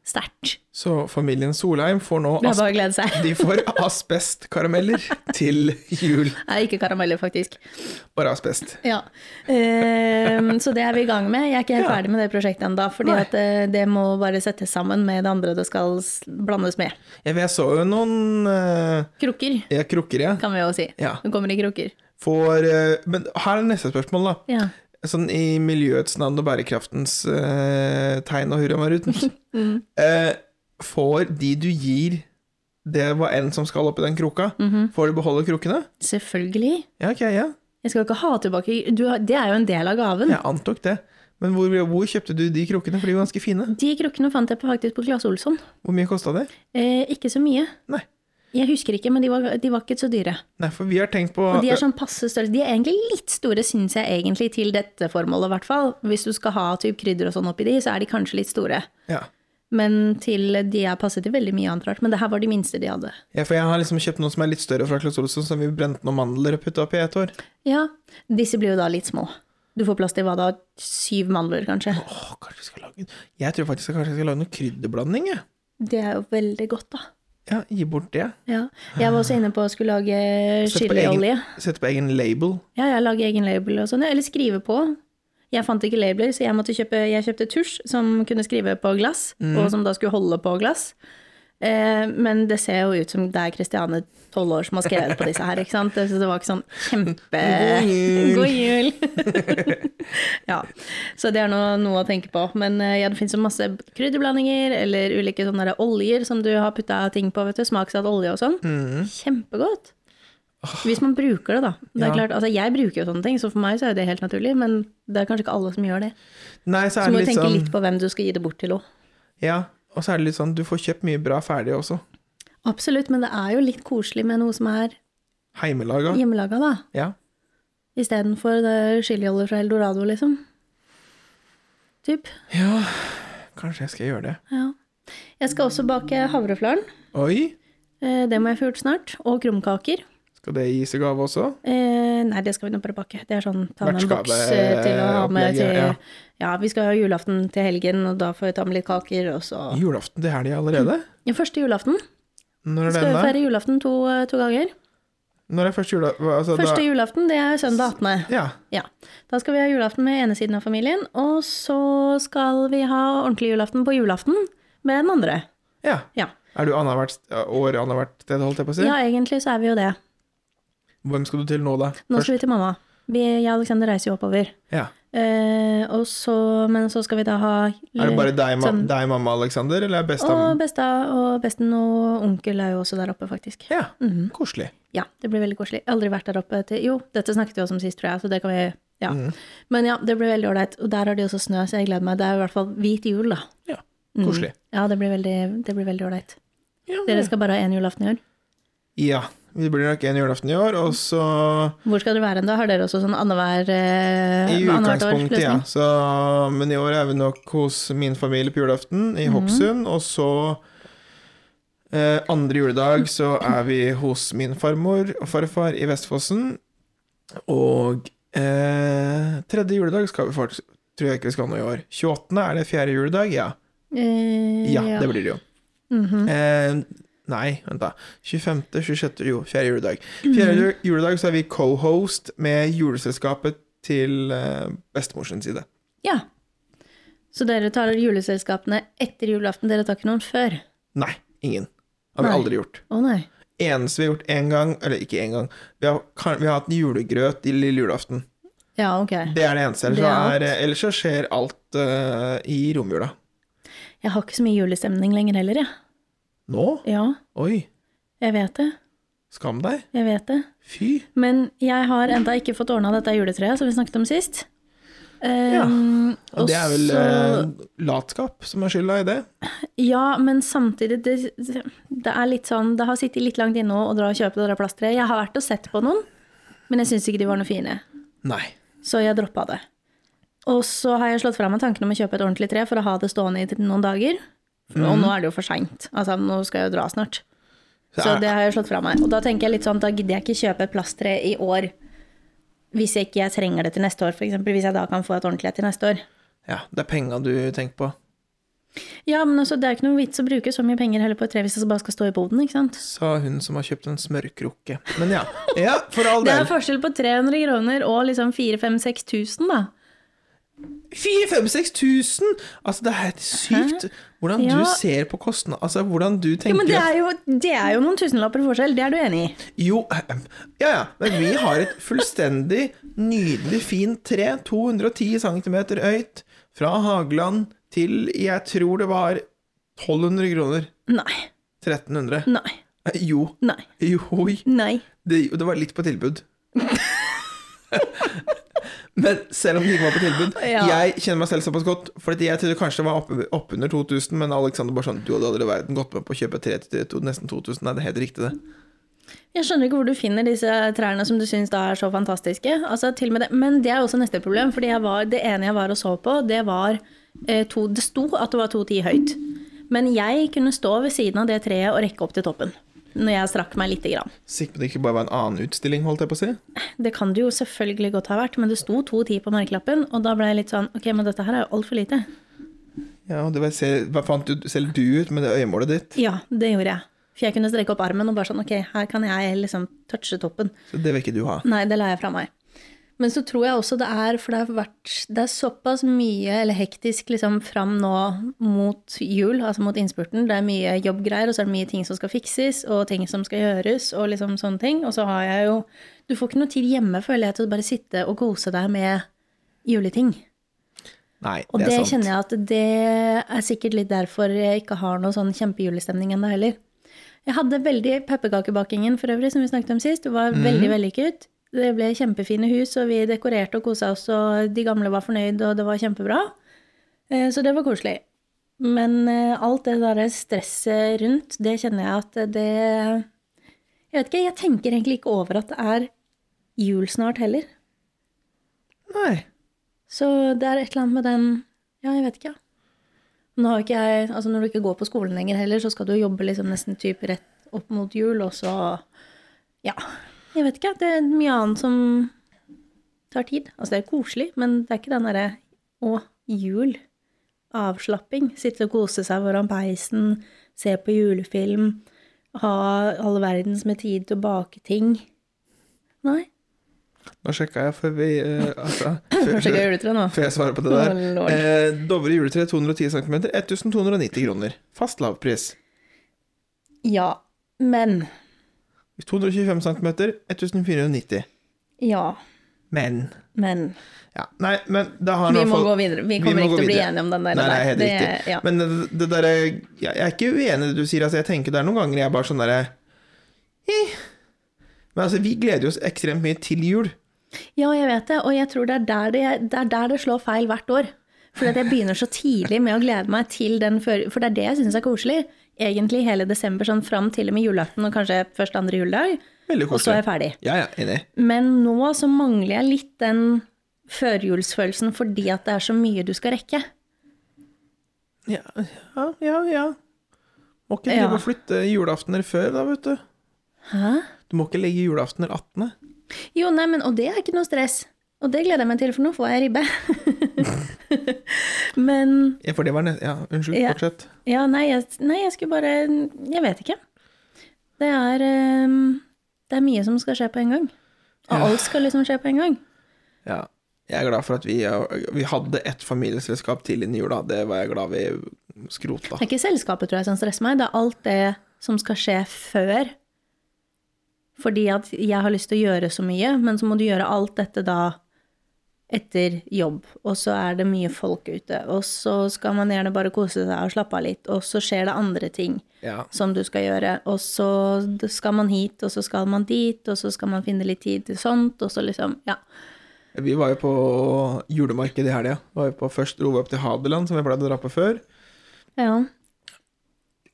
Speaker 2: sterkt.
Speaker 1: Så familien Solheim får nå
Speaker 2: Det er
Speaker 1: asp
Speaker 2: bare å glede seg.
Speaker 1: de får asbestkarameller til jul.
Speaker 2: Nei, ikke karameller, faktisk.
Speaker 1: Bare asbest.
Speaker 2: Ja. Ehm, så det er vi i gang med. Jeg er ikke helt ferdig med det prosjektet ennå, fordi
Speaker 1: Nei.
Speaker 2: at eh, det må bare settes sammen med det andre det skal s- blandes med.
Speaker 1: Jeg, vet, jeg så jo noen eh,
Speaker 2: Krukker,
Speaker 1: ja, krukker, ja.
Speaker 2: kan vi jo si.
Speaker 1: Ja.
Speaker 2: Det kommer i krukker.
Speaker 1: Får eh, Men her er neste spørsmål, da.
Speaker 2: Ja.
Speaker 1: Sånn i miljøets navn og bærekraftens eh, tegn og hurramaruten.
Speaker 2: Mm.
Speaker 1: Eh, får de du gir det var en som skal oppi den kroka,
Speaker 2: Mhm.
Speaker 1: får du beholde krukkene?
Speaker 2: Selvfølgelig.
Speaker 1: Ja, ok, ja.
Speaker 2: Jeg skal jo ikke ha tilbake du, har- Det er jo en del av gaven.
Speaker 1: Jeg antok det. Men hvor, hvor kjøpte du de krukkene, for de var ganske fine?
Speaker 2: De krukkene fant jeg på faktisk på Claes Olsson.
Speaker 1: Hvor mye kosta det?
Speaker 2: Eh, ikke så mye.
Speaker 1: Nei.
Speaker 2: Jeg husker ikke, men de var, de var ikke så dyre.
Speaker 1: Nei, for vi har tenkt på
Speaker 2: Og de er sånn passe størrelse. De er egentlig litt store, syns jeg egentlig, til dette formålet, i hvert fall. Hvis du skal ha typ krydder og sånn oppi de, så er de kanskje litt store.
Speaker 1: ja.
Speaker 2: Men til de jeg passet til veldig mye annet rart. Men det her var de minste de hadde.
Speaker 1: ja, for jeg har liksom kjøpt noen som er litt større fra Claes Olsson, som vi brente noen mandler og putta oppi et år.
Speaker 2: Ja, disse blir jo da litt små. Du får plass til hva da? Syv mandler, kanskje?
Speaker 1: Åh, kanskje vi skal lage Jeg tror faktisk jeg kanskje skal lage noe krydderblanding, jeg.
Speaker 2: Det er jo veldig godt, da.
Speaker 1: Ja, gi bort det.
Speaker 2: Ja. Jeg var også inne på å skulle lage
Speaker 1: Sette på egen-
Speaker 2: chiliolje.
Speaker 1: Sette på egen label.
Speaker 2: Ja, jeg lager egen label og sånn. ja, Eller skrive på. Jeg fant ikke labler, så jeg, måtte kjøpe, jeg kjøpte tusj som kunne skrive på glass, og som da skulle holde på glass. Eh, men det ser jo ut som det er Christiane, tolv år, som har skrevet på disse her. ikke sant? Så det var ikke sånn kjempe
Speaker 1: God jul!
Speaker 2: God jul! ja. Så det er noe, noe å tenke på. Men eh, ja, det fins jo masse krydderblandinger eller ulike sånne der oljer som du har putta ting på. vet du, Smaksatt olje og sånn. Kjempegodt. Hvis man bruker det, da. Det er
Speaker 1: Ja.
Speaker 2: klart, altså Jeg bruker jo sånne ting, så for meg så er det helt naturlig. Men det er kanskje ikke alle som gjør det.
Speaker 1: Nei, så
Speaker 2: Så
Speaker 1: er
Speaker 2: må
Speaker 1: det
Speaker 2: du
Speaker 1: litt
Speaker 2: tenke
Speaker 1: sånn
Speaker 2: litt på hvem du skal gi det bort til òg.
Speaker 1: Ja, og så er det litt sånn, du får kjøpt mye bra ferdig også.
Speaker 2: Absolutt, men det er jo litt koselig med noe som er
Speaker 1: Heimelaga.
Speaker 2: hjemmelaga, da.
Speaker 1: Ja.
Speaker 2: Istedenfor det chiliolje fra Eldorado, liksom. Typ.
Speaker 1: ja, kanskje jeg skal gjøre det.
Speaker 2: Ja. Jeg skal også bake havreflaren.
Speaker 1: Oi,
Speaker 2: Eh, Det må jeg få gjort snart. Og krumkaker.
Speaker 1: skal det gis i gave også?
Speaker 2: Eh, nei, det skal vi nå bare pakke. Det er sånn, ta med en
Speaker 1: Vertskapet,
Speaker 2: boks eh, til å ha
Speaker 1: opplegget,
Speaker 2: med til
Speaker 1: ja.
Speaker 2: ja. vi skal ha julaften til helgen, og da får vi ta med litt kaker, og så
Speaker 1: Julaften til helga allerede?
Speaker 2: ja, Første julaften.
Speaker 1: Når er
Speaker 2: Skal vi
Speaker 1: den da?
Speaker 2: feire julaften to, eh, to ganger?
Speaker 1: Når er første jula... hva- Altså,
Speaker 2: Første
Speaker 1: da...
Speaker 2: julaften, det er søndag 18.
Speaker 1: Ja,
Speaker 2: Ja. Da skal vi ha julaften med ene siden av familien, og så skal vi ha ordentlig julaften på julaften med den andre.
Speaker 1: ja.
Speaker 2: Ja.
Speaker 1: Er du annethvert år annethvert sted, holdt jeg på å si?
Speaker 2: ja, egentlig så er vi jo det.
Speaker 1: Hvem skal du til nå, da?
Speaker 2: Nå
Speaker 1: Først?
Speaker 2: skal vi til mamma. Vi, jeg og Alexander reiser jo oppover.
Speaker 1: Ja.
Speaker 2: Eh, og så, men så skal vi da ha
Speaker 1: Er det bare deg, ma
Speaker 2: sånn-
Speaker 1: deg mamma, Aleksander, eller er besta
Speaker 2: Og besta og besten og onkel er jo også der oppe, faktisk. Mhm.
Speaker 1: Ja, koselig.
Speaker 2: Ja, det blir veldig koselig. Jeg har Aldri vært der oppe til Jo, dette snakket vi også om sist, tror jeg, så det kan vi Ja.
Speaker 1: Mm,
Speaker 2: Men ja, det blir veldig ålreit. Og der har de også snø, så jeg gleder meg. Det er i hvert fall hvit jul, da.
Speaker 1: Ja, koselig.
Speaker 2: Ja, det blir veldig det blir veldig ålreit.
Speaker 1: Ja,
Speaker 2: Mm. Dere skal bare ha én julaften i år.
Speaker 1: ja, det blir nok en julaften i år, og så
Speaker 2: Hvor skal dere være hen da? Har dere også sånn annenhver eh,
Speaker 1: I
Speaker 2: annethvert år
Speaker 1: utgangspunktet, ja.
Speaker 2: løsning?
Speaker 1: Så, men i år er vi nok hos min familie på julaften
Speaker 2: Mhm.
Speaker 1: i Hokksund. Og så eh, andre juledag så er vi hos min farmor og farfar i Vestfossen. Og eh, tredje juledag skal vi faktisk Tror jeg ikke vi skal nå i år. 28. er det fjerde juledag? Ja.
Speaker 2: Eh, Mhm.
Speaker 1: Ja, det blir det jo.
Speaker 2: Mm.
Speaker 1: eh, nei, vent, da. 25., 26., jo, fjerde juledag.
Speaker 2: Mm.
Speaker 1: Fjerde ju- juledag så er vi co-host med juleselskapet til eh, bestemors side.
Speaker 2: Ja. Så dere tar juleselskapene etter julaften, dere tar ikke noen før?
Speaker 1: Nei, ingen. Har vi
Speaker 2: Nei.
Speaker 1: aldri gjort.
Speaker 2: Å nei.
Speaker 1: Eneste vi har gjort én gang, eller ikke én gang, vi har, kan, vi har hatt julegrøt i lille julaften.
Speaker 2: Ja, ok.
Speaker 1: Det er det eneste. Ellers,
Speaker 2: Det er
Speaker 1: så,
Speaker 2: alt.
Speaker 1: er, ellers så skjer alt eh, i romjula.
Speaker 2: Jeg har ikke så mye julestemning lenger heller, jeg.
Speaker 1: Nå?
Speaker 2: Ja.
Speaker 1: Oi,
Speaker 2: jeg vet det.
Speaker 1: skam deg.
Speaker 2: Jeg vet det.
Speaker 1: Fy.
Speaker 2: Men jeg har enda ikke fått ordna dette juletreet som vi snakket om sist.
Speaker 1: Ja,
Speaker 2: Ehm,
Speaker 1: Og det er vel
Speaker 2: så-
Speaker 1: eh, latskap som er skylda i det.
Speaker 2: Ja, men samtidig det, det er litt sånn Det har sittet litt langt inne å dra og kjøpe det der plasttreet. Jeg har vært og sett på noen, men jeg syns ikke de var noe fine.
Speaker 1: Nei.
Speaker 2: Så jeg droppa det. Og så har jeg slått fra meg tanken om å kjøpe et ordentlig tre for å ha det stående i noen dager. For,
Speaker 1: Mhm.
Speaker 2: Og nå er det jo for seint. Altså, nå skal jeg jo dra snart.
Speaker 1: Så
Speaker 2: Så
Speaker 1: er-
Speaker 2: det har jeg slått fra meg. Og da tenker jeg litt sånn, da gidder jeg ikke kjøpe et plasttre i år. Hvis jeg ikke jeg trenger det til neste år, f.eks. Hvis jeg da kan få et ordentlig et til neste år.
Speaker 1: Ja, det er penga du tenker på.
Speaker 2: Ja, men altså, det er ikke noe vits å bruke så mye penger heller på et tre hvis det bare skal stå i boden, ikke sant.
Speaker 1: Sa hun som har kjøpt en smørkrukke. Men ja, ja for all
Speaker 2: Det er
Speaker 1: del.
Speaker 2: forskjell på 300 kroner og liksom 4000-5000-6000, da.
Speaker 1: 4000-5000! Altså, det er helt sykt hvordan
Speaker 2: Ja.
Speaker 1: du ser på kostnad... Altså, hvordan du tenker
Speaker 2: Jo, men det
Speaker 1: at-
Speaker 2: er jo, det er jo noen tusenlapper forskjell, det er du enig i?
Speaker 1: Jo, ahem. ja ja, men vi har et fullstendig nydelig fint tre, 210 cm høyt, fra Hageland til jeg tror det var 1200 kroner.
Speaker 2: Nei.
Speaker 1: 1300.
Speaker 2: Nei.
Speaker 1: Eh, Jo,
Speaker 2: Nei.
Speaker 1: jo, oi.
Speaker 2: Nei.
Speaker 1: det, det var litt på tilbud. Men selv om det ikke var på tilbud
Speaker 2: Ja.
Speaker 1: Jeg kjenner meg selv såpass godt. For at jeg trodde kanskje det var oppe- oppunder 2000, men Alexander bare sånn Du hadde aldri i verden gått med på å kjøpe tre til to- nesten 2000. Nei, det er helt riktig, det.
Speaker 2: Jeg skjønner ikke hvor du finner disse trærne som du syns da er så fantastiske. Altså, til og med det. Men det er jo også neste problem, fordi jeg var, det ene jeg var og så på, det var eh, to, Det sto at det var 2,10 høyt. Men jeg kunne stå ved siden av det treet og rekke opp til toppen. Når jeg strakk meg lite grann.
Speaker 1: Sikker på at det ikke bare var en annen utstilling, holdt jeg på å si.
Speaker 2: Det kan det jo selvfølgelig godt ha vært, men det sto 2,10 på merkelappen, og da ble jeg litt sånn Ok, men dette her er jo altfor lite.
Speaker 1: Ja, og det var, se- hva fant du, selv du ut med det øyemålet ditt?
Speaker 2: Ja, det gjorde jeg. For jeg kunne strekke opp armen og bare sånn Ok, her kan jeg liksom touche toppen.
Speaker 1: Så det vil ikke du ha.
Speaker 2: Nei, det la jeg fra meg. Men så tror jeg også det er, for det har vært Det er såpass mye eller hektisk liksom fram nå mot jul, altså mot innspurten. Det er mye jobbgreier, og så er det mye ting som skal fikses, og ting som skal gjøres, og liksom sånne ting. Og så har jeg jo Du får ikke noe tid hjemme, føler jeg, til å bare sitte og kose deg med juleting.
Speaker 1: Nei,
Speaker 2: Og
Speaker 1: det
Speaker 2: det,
Speaker 1: er sant.
Speaker 2: kjenner jeg at det er sikkert litt derfor jeg ikke har noe sånn kjempejulestemning ennå heller. Jeg hadde veldig pepperkakebakingen for øvrig, som vi snakket om sist. Det
Speaker 1: Mhm.
Speaker 2: var veldig vellykket. Det ble kjempefine hus, og vi dekorerte og kosa oss, og de gamle var fornøyd, og det var kjempebra. Eh, Så det var koselig. Men eh, alt det der stresset rundt, det kjenner jeg at det Jeg vet ikke, jeg tenker egentlig ikke over at det er jul snart heller.
Speaker 1: Nei.
Speaker 2: Så det er et eller annet med den Ja, jeg vet ikke, ja. Nå har ikke jeg, altså når du ikke går på skolen lenger heller, så skal du jobbe liksom nesten typ rett opp mot jul, og så Ja. Jeg vet ikke. Det er mye annet som tar tid. Altså, det er koselig, men det er ikke den derre Å, jul. Avslapping. Sitte og kose seg foran peisen, se på julefilm, ha all verdens med tid til å bake ting. Nei.
Speaker 1: Nå sjekka jeg før vi eh, Altså før,
Speaker 2: Kanskje ikke juletre nå.
Speaker 1: Før jeg svarer på det
Speaker 2: Å,
Speaker 1: der.
Speaker 2: lord.
Speaker 1: Eh, Dovre juletre 210 cm, 1290 kroner. Fast lavpris.
Speaker 2: Ja. Men.
Speaker 1: 225 cm, 1490.
Speaker 2: Ja.
Speaker 1: Men
Speaker 2: Men
Speaker 1: ja. Nei, men da har
Speaker 2: vi
Speaker 1: nå
Speaker 2: må
Speaker 1: fått-
Speaker 2: gå videre.
Speaker 1: vi
Speaker 2: Vi kommer
Speaker 1: må
Speaker 2: ikke
Speaker 1: gå
Speaker 2: til å bli
Speaker 1: videre.
Speaker 2: enige om den der.
Speaker 1: Nei, nei, helt
Speaker 2: det,
Speaker 1: riktig.
Speaker 2: Ja.
Speaker 1: Men det, det derre jeg, jeg er ikke uenig i det du sier. Altså, jeg tenker det er noen ganger jeg er bare sånn derre «Eh». Men altså, vi gleder oss ekstremt mye til jul.
Speaker 2: ja, jeg vet det, og jeg tror det er der det, det, er der det slår feil hvert år. For at jeg begynner så tidlig med å glede meg til den før For det er det jeg syns er koselig. Egentlig hele desember, sånn fram til og med julaften og kanskje først andre juledag.
Speaker 1: Veldig
Speaker 2: Og så er
Speaker 1: koselig.
Speaker 2: jeg ferdig.
Speaker 1: Ja, ja, enig.
Speaker 2: Men nå så mangler jeg litt den førjulsfølelsen fordi at det er så mye du skal rekke.
Speaker 1: Ja, ja, ja. ja. Må ikke
Speaker 2: Ja.
Speaker 1: drive og flytte julaftener før, da, vet du.
Speaker 2: Hæ?
Speaker 1: Du må ikke legge julaftener 18.
Speaker 2: Jo, nei, men, og det er ikke noe stress. Og det gleder jeg meg til, for nå får jeg ribbe. men
Speaker 1: Ja, for det var nest... Ja, unnskyld,
Speaker 2: Ja.
Speaker 1: fortsett.
Speaker 2: Ja, nei jeg, nei, jeg skulle bare Jeg vet ikke. Det er ehm, Det er mye som skal skje på en gang. Og
Speaker 1: Ja.
Speaker 2: alt skal liksom skje på en gang.
Speaker 1: Ja. Jeg er glad for at vi, vi hadde ett familieselskap til innen jula. Det var jeg glad vi skrota.
Speaker 2: Det er ikke selskapet tror jeg som stresser meg, det er alt det som skal skje før. Fordi at jeg har lyst til å gjøre så mye, men så må du gjøre alt dette da etter jobb. Og så er det mye folk ute, og så skal man gjerne bare kose seg og slappe av litt, og så skjer det andre ting
Speaker 1: Ja.
Speaker 2: som du skal gjøre, og så skal man hit, og så skal man dit, og så skal man finne litt tid til sånt, og så liksom, ja.
Speaker 1: Vi var jo på julemarked i helga. Var jo på- Først dro vi opp til Hadeland, som vi pleide å dra på før.
Speaker 2: Ja,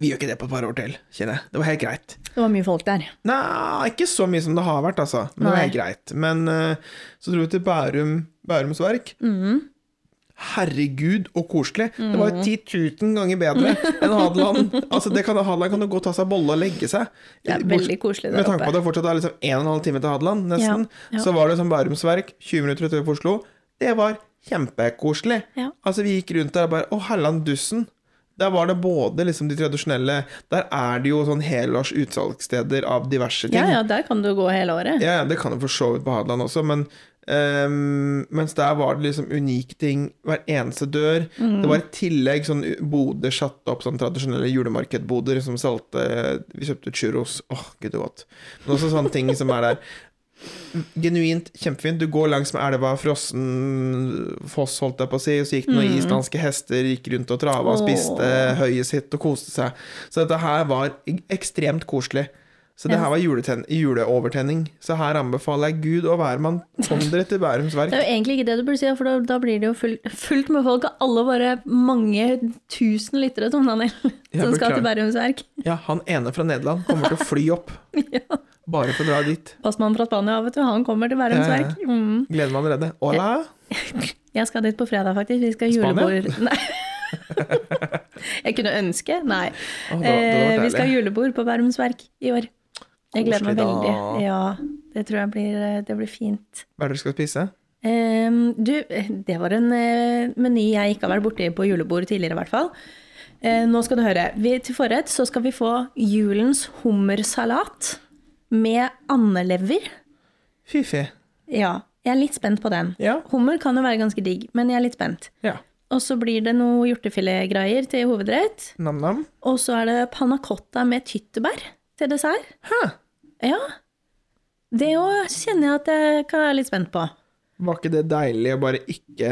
Speaker 1: Vi gjør ikke det på et par år til, kjenner jeg. Det var helt greit.
Speaker 2: det var mye folk der.
Speaker 1: Nei, ikke så mye som det har vært, altså. Men det var
Speaker 2: Nei.
Speaker 1: helt greit. Men eh, så dro vi til Bærum, Bærums Verk.
Speaker 2: Mm-hmm.
Speaker 1: Herregud, og koselig. Det var jo 10 000 ganger bedre enn Hadeland. altså, det kan, Hadeland kan jo gå og ta seg en bolle og legge seg.
Speaker 2: Det er
Speaker 1: Bort-
Speaker 2: veldig koselig
Speaker 1: Med
Speaker 2: der
Speaker 1: tanke på
Speaker 2: oppe.
Speaker 1: at det fortsatt er liksom en og en halv time til Hadeland, nesten,
Speaker 2: Ja, ja.
Speaker 1: så var det som Bærums Verk, 20 minutter utenfor Oslo. Det var kjempekoselig.
Speaker 2: Ja.
Speaker 1: Altså, vi gikk rundt der og bare Å, Helland Dussen. Der var det både liksom de tradisjonelle Der er det jo sånn helårs utsalgssteder av diverse ting.
Speaker 2: Ja, ja, der kan du gå hele året.
Speaker 1: Ja, ja, det kan jo for så vidt på Hadeland også, men ehm, mens der var det liksom unike ting hver eneste dør. Det var i tillegg sånn u- boder satt opp, sånn tradisjonelle julemarkedboder som solgte Vi kjøpte churros, åh, gud så godt. Men også sånne ting som er der. Genuint kjempefint. Du går langs med elva, frossen foss, holdt jeg på å si, og så gikk det noen islandske hester, gikk rundt og trava og
Speaker 2: Åh.
Speaker 1: spiste høyet sitt og koste seg. Så dette her var ekstremt koselig. Så det her var juleten- juleovertenning. Så her anbefaler jeg Gud og hvermann, kom dere til Bærums
Speaker 2: Det er
Speaker 1: Verk.
Speaker 2: jo egentlig ikke det du burde si, for da, da blir det jo full, fullt med folk av alle våre mange tusen lyttere, Tom Daniel,
Speaker 1: Ja,
Speaker 2: som skal
Speaker 1: beklager.
Speaker 2: til Bærums Verk.
Speaker 1: Ja, han ene fra Nederland kommer til å fly opp,
Speaker 2: Ja.
Speaker 1: bare for å dra dit.
Speaker 2: Passmannen fra Spania, vet du, han kommer til Bærums
Speaker 1: Ja, ja.
Speaker 2: Verk. Mm.
Speaker 1: Gleder meg allerede. Hola!
Speaker 2: Jeg skal dit på fredag, faktisk. Vi skal ha
Speaker 1: Spania?
Speaker 2: julebord Nei. Jeg kunne ønske, nei.
Speaker 1: Åh, det var- det
Speaker 2: Eh,
Speaker 1: var
Speaker 2: vi skal ha
Speaker 1: deilig.
Speaker 2: julebord på Bærums Verk i år. Jeg gleder meg
Speaker 1: Koselig,
Speaker 2: veldig.
Speaker 1: da.
Speaker 2: Ja, det tror jeg blir, eh, det blir fint.
Speaker 1: Hva er det dere skal spise?
Speaker 2: Ehm, du, det var en eh, meny jeg ikke har vært borti på julebord tidligere, i hvert fall. Eh, nå skal du høre. Vi, til forrett så skal vi få julens hummersalat med andelever.
Speaker 1: Fy-fy.
Speaker 2: Ja, jeg er litt spent på den.
Speaker 1: Ja.
Speaker 2: Hummer kan jo være ganske digg, men jeg er litt spent.
Speaker 1: ja.
Speaker 2: Og så blir det noe hjortefiletgreier til hovedrett.
Speaker 1: Nam-nam.
Speaker 2: Og så er det panna cotta med tyttebær til dessert.
Speaker 1: Hæ?
Speaker 2: Ja. Det òg kjenner jeg at jeg kan være litt spent på.
Speaker 1: Var ikke det deilig å bare ikke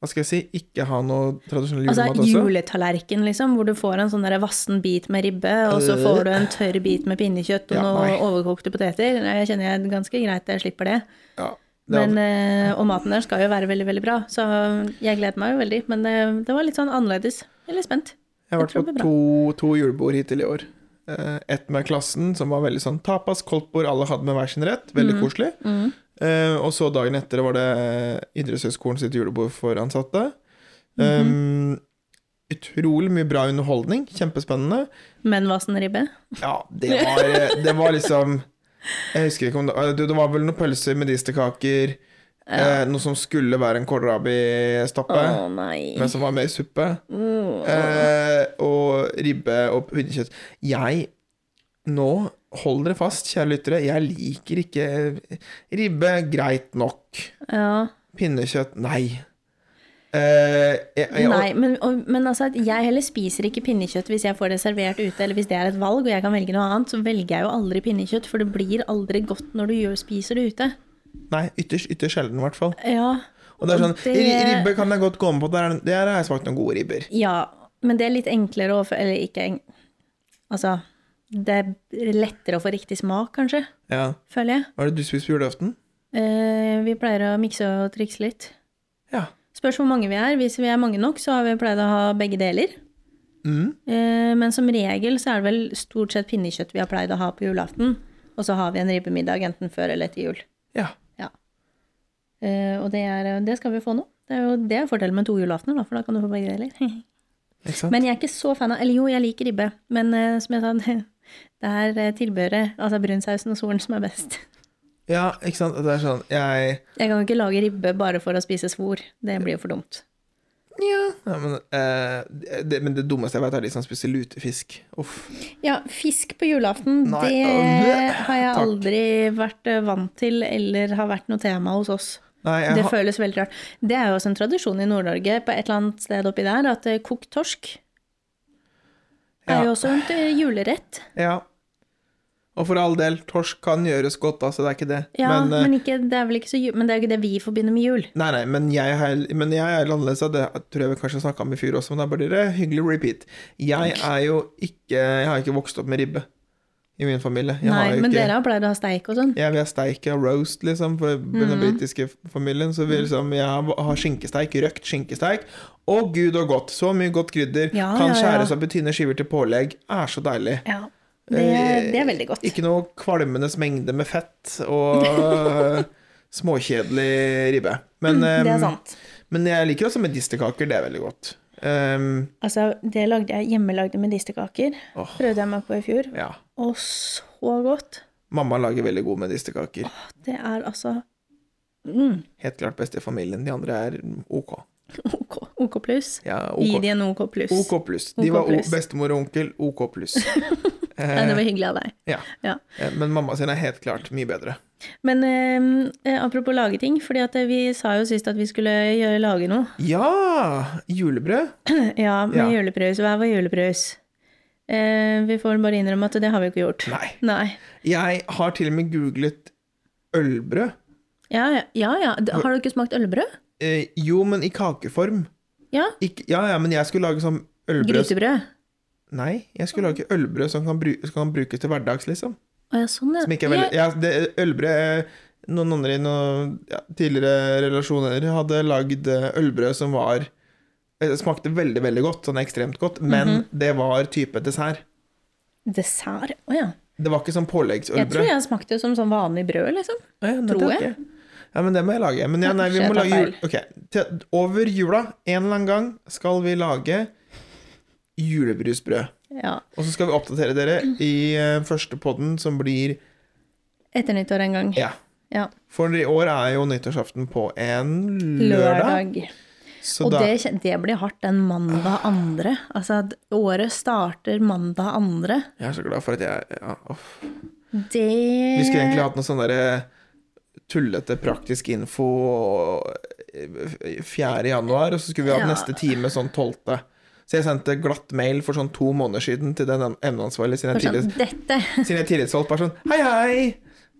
Speaker 1: Hva skal jeg si? Ikke ha noe tradisjonell julemat
Speaker 2: Altså
Speaker 1: også?
Speaker 2: juletallerken, liksom, hvor du får en sånn der vassen bit med ribbe, og så
Speaker 1: Øh.
Speaker 2: får du en tørr bit med pinnekjøtt og
Speaker 1: Ja, nei.
Speaker 2: noen overkokte poteter. Nei, Jeg kjenner jeg ganske greit at jeg slipper det.
Speaker 1: Ja, det altså-
Speaker 2: Men, eh, og maten der skal jo være veldig, veldig bra, så jeg gleder meg jo veldig. Men det, det var litt sånn annerledes. Jeg er litt spent.
Speaker 1: Jeg har vært
Speaker 2: Jeg tror det
Speaker 1: på to,
Speaker 2: blir
Speaker 1: to julebord hittil i år. Eh, Ett med klassen, som var veldig sånn tapas, koldtbord, alle hadde med hver sin rett. Veldig
Speaker 2: Mm.
Speaker 1: koselig. Eh, og så dagen etter var det eh, Idrettshøgskolen sitt julebord for ansatte.
Speaker 2: Mhm.
Speaker 1: Eh, utrolig mye bra underholdning. Kjempespennende.
Speaker 2: Men vassen ribbe?
Speaker 1: Ja, det var, det var liksom Jeg husker ikke om det eh, du, Det var vel noen pølser, medisterkaker, eh, noe som skulle være en
Speaker 2: Å
Speaker 1: kålrabistappe,
Speaker 2: nei.
Speaker 1: men som var mer suppe.
Speaker 2: Mm.
Speaker 1: Eh, og ribbe og hundekjøtt. Jeg Nå, hold dere fast, kjære lyttere, jeg liker ikke eh, ribbe. Greit nok.
Speaker 2: Ja.
Speaker 1: Pinnekjøtt, nei. Eh, jeg, jeg,
Speaker 2: Nei, men, og, men altså at jeg heller spiser ikke pinnekjøtt hvis jeg får det servert ute, eller hvis det er et valg og jeg kan velge noe annet, så velger jeg jo aldri pinnekjøtt, for det blir aldri godt når du gjør, spiser det ute.
Speaker 1: nei ytterst, ytterst sjelden, i hvert fall.
Speaker 2: Ja,
Speaker 1: Og det er sånn,
Speaker 2: Og det-
Speaker 1: ri- Ribbe kan jeg godt gå med på, der, er- der har jeg smakt noen gode ribber.
Speaker 2: ja, men det er litt enklere å få Eller ikke eng- Altså, det er lettere å få riktig smak, kanskje,
Speaker 1: Ja.
Speaker 2: føler jeg.
Speaker 1: Hva er det du spiser på julaften?
Speaker 2: Eh, vi pleier å mikse og trikse litt.
Speaker 1: Ja.
Speaker 2: Spørs hvor mange vi er. Hvis vi er mange nok, så har vi pleid å ha begge deler.
Speaker 1: Mm.
Speaker 2: Eh, Men som regel så er det vel stort sett pinnekjøtt vi har pleid å ha på julaften. Og så har vi en ribbemiddag enten før eller etter jul.
Speaker 1: ja.
Speaker 2: Eh, Og det, er, det skal vi få nå. Det er jo det er fordelen med to julaftener, da, for da kan du få begge deler.
Speaker 1: Ikke sant?
Speaker 2: Men jeg er ikke så fan av Eller jo, jeg liker ribbe, men eh, som jeg sa, det er eh, tilbehøret, altså brunsausen og solen, som er best.
Speaker 1: Ja, ikke sant. Det er sånn Jeg
Speaker 2: Jeg kan jo ikke lage ribbe bare for å spise svor. Det blir jo for dumt.
Speaker 1: Ja, men, eh, det, men det dummeste jeg vet, er de som spiser lutefisk. Uff.
Speaker 2: Ja, fisk på julaften,
Speaker 1: Nei,
Speaker 2: det
Speaker 1: øh,
Speaker 2: har jeg
Speaker 1: takk.
Speaker 2: aldri vært eh, vant til, eller har vært noe tema hos oss.
Speaker 1: Nei, jeg
Speaker 2: Det
Speaker 1: har
Speaker 2: føles veldig rart. Det er jo også en tradisjon i Nord-Norge, på et eller annet sted oppi der, at eh, kokt torsk
Speaker 1: Ja.
Speaker 2: er jo også en eh, julerett.
Speaker 1: Ja. Og for all del, torsk kan gjøres godt, altså, det er ikke det.
Speaker 2: Ja, men,
Speaker 1: eh,
Speaker 2: ikke, det er vel ikke så ju- Men det er jo ikke det vi forbinder med jul.
Speaker 1: Nei, nei, men jeg, er, men jeg er litt annerledes. og Det tror jeg vi kanskje snakka om i fjor også, men da blir det hyggelig repeat. Jeg er jo ikke Jeg har ikke vokst opp med ribbe i min familie. Jeg har
Speaker 2: Nei,
Speaker 1: jo
Speaker 2: men
Speaker 1: ikke,
Speaker 2: dere har pleid å ha steik og sånn.
Speaker 1: jeg vil ha steik og roast, liksom, for den
Speaker 2: Mm.
Speaker 1: britiske familien. Så vi liksom, jeg har har skinkesteik, røkt skinkesteik. Å gud og godt! Så mye godt krydder.
Speaker 2: Ja,
Speaker 1: kan
Speaker 2: ja, ja.
Speaker 1: skjæres opp i tynne skiver til pålegg. Er så deilig.
Speaker 2: Ja, det,
Speaker 1: Eh,
Speaker 2: det er veldig godt.
Speaker 1: Ikke noe kvalmendes mengde med fett og øh, småkjedelig ribbe. Men,
Speaker 2: Mm,
Speaker 1: eh,
Speaker 2: Det
Speaker 1: øhm,
Speaker 2: er sant.
Speaker 1: men jeg liker også medisterkaker, det er veldig godt. Øhm,
Speaker 2: Altså, det lagde jeg hjemmelagde medisterkaker.
Speaker 1: Åh.
Speaker 2: Prøvde jeg meg på i fjor.
Speaker 1: ja.
Speaker 2: Og så godt.
Speaker 1: Mamma lager veldig gode medisterkaker.
Speaker 2: Det er altså mm,
Speaker 1: Helt klart best i familien. De andre er ok.
Speaker 2: OK, OK pluss.
Speaker 1: Ja,
Speaker 2: Gi
Speaker 1: ok.
Speaker 2: de en OK pluss.
Speaker 1: OK pluss. De
Speaker 2: OK
Speaker 1: var o-
Speaker 2: pluss.
Speaker 1: bestemor og onkel, OK pluss. eh,
Speaker 2: Nei, det var hyggelig av deg.
Speaker 1: Ja.
Speaker 2: Ja.
Speaker 1: Eh, Men mamma sin er helt klart mye bedre.
Speaker 2: Men eh, eh, apropos lage ting, fordi at eh, vi sa jo sist at vi skulle gjøre- lage noe.
Speaker 1: Ja! Julebrød.
Speaker 2: ja, med
Speaker 1: Ja.
Speaker 2: julebrød. Så hva var julebrød? Eh, vi får bare innrømme at det har vi jo ikke gjort.
Speaker 1: Nei. Jeg har til og med googlet ølbrød.
Speaker 2: Ja, ja, ja, ja. D- Har du ikke smakt ølbrød?
Speaker 1: Eh, jo, men i kakeform.
Speaker 2: Ja.
Speaker 1: Ikke, ja, ja, men jeg skulle lage sånn ølbrød
Speaker 2: Grytebrød.
Speaker 1: Nei, jeg skulle lage ølbrød som kan, bru, som kan brukes til hverdags, liksom.
Speaker 2: Å ja, sånn, ja.
Speaker 1: Som ikke er veldig, ja, det, ølbrød Noen andre i noen ja, tidligere relasjoner hadde lagd eh, ølbrød som var eh, Smakte veldig, veldig godt, sånn ekstremt godt, men
Speaker 2: Mhm.
Speaker 1: det var type dessert.
Speaker 2: Jeg, dessert. Å ja.
Speaker 1: Det var ikke sånn
Speaker 2: Jeg tror
Speaker 1: påleggsølbrød.
Speaker 2: jeg smakte som sånn vanlig brød, liksom.
Speaker 1: Ja, ja,
Speaker 2: tror
Speaker 1: nettopp,
Speaker 2: jeg.
Speaker 1: ja. Ja, men det må jeg lage. Men ja, nei, vi
Speaker 2: Kanskje
Speaker 1: må lage
Speaker 2: jeg tar
Speaker 1: jul... Ok, til, over jula, en eller annen gang, skal vi lage julebrusbrød.
Speaker 2: Ja.
Speaker 1: Og så skal vi oppdatere dere i eh, første podden som blir
Speaker 2: Etter nyttår en gang.
Speaker 1: Ja.
Speaker 2: Ja.
Speaker 1: For i år er jo nyttårsaften på en lørdag.
Speaker 2: Lørdag.
Speaker 1: Så
Speaker 2: Og
Speaker 1: da
Speaker 2: det, kjen- det blir hardt den mandag andre. Altså, at året starter mandag andre.
Speaker 1: Jeg er så glad for at jeg ja, uff.
Speaker 2: Det
Speaker 1: Vi skulle egentlig hatt noe sånn derre tullete praktisk info eh, 4. januar, og så skulle vi hatt
Speaker 2: Ja.
Speaker 1: neste time sånn 12. Så jeg sendte glatt mail for sånn to måneder siden til den emneansvarlige, siden jeg tidligere
Speaker 2: sånn, Dette
Speaker 1: sine tillitsfolk bare sånn Hei, hei!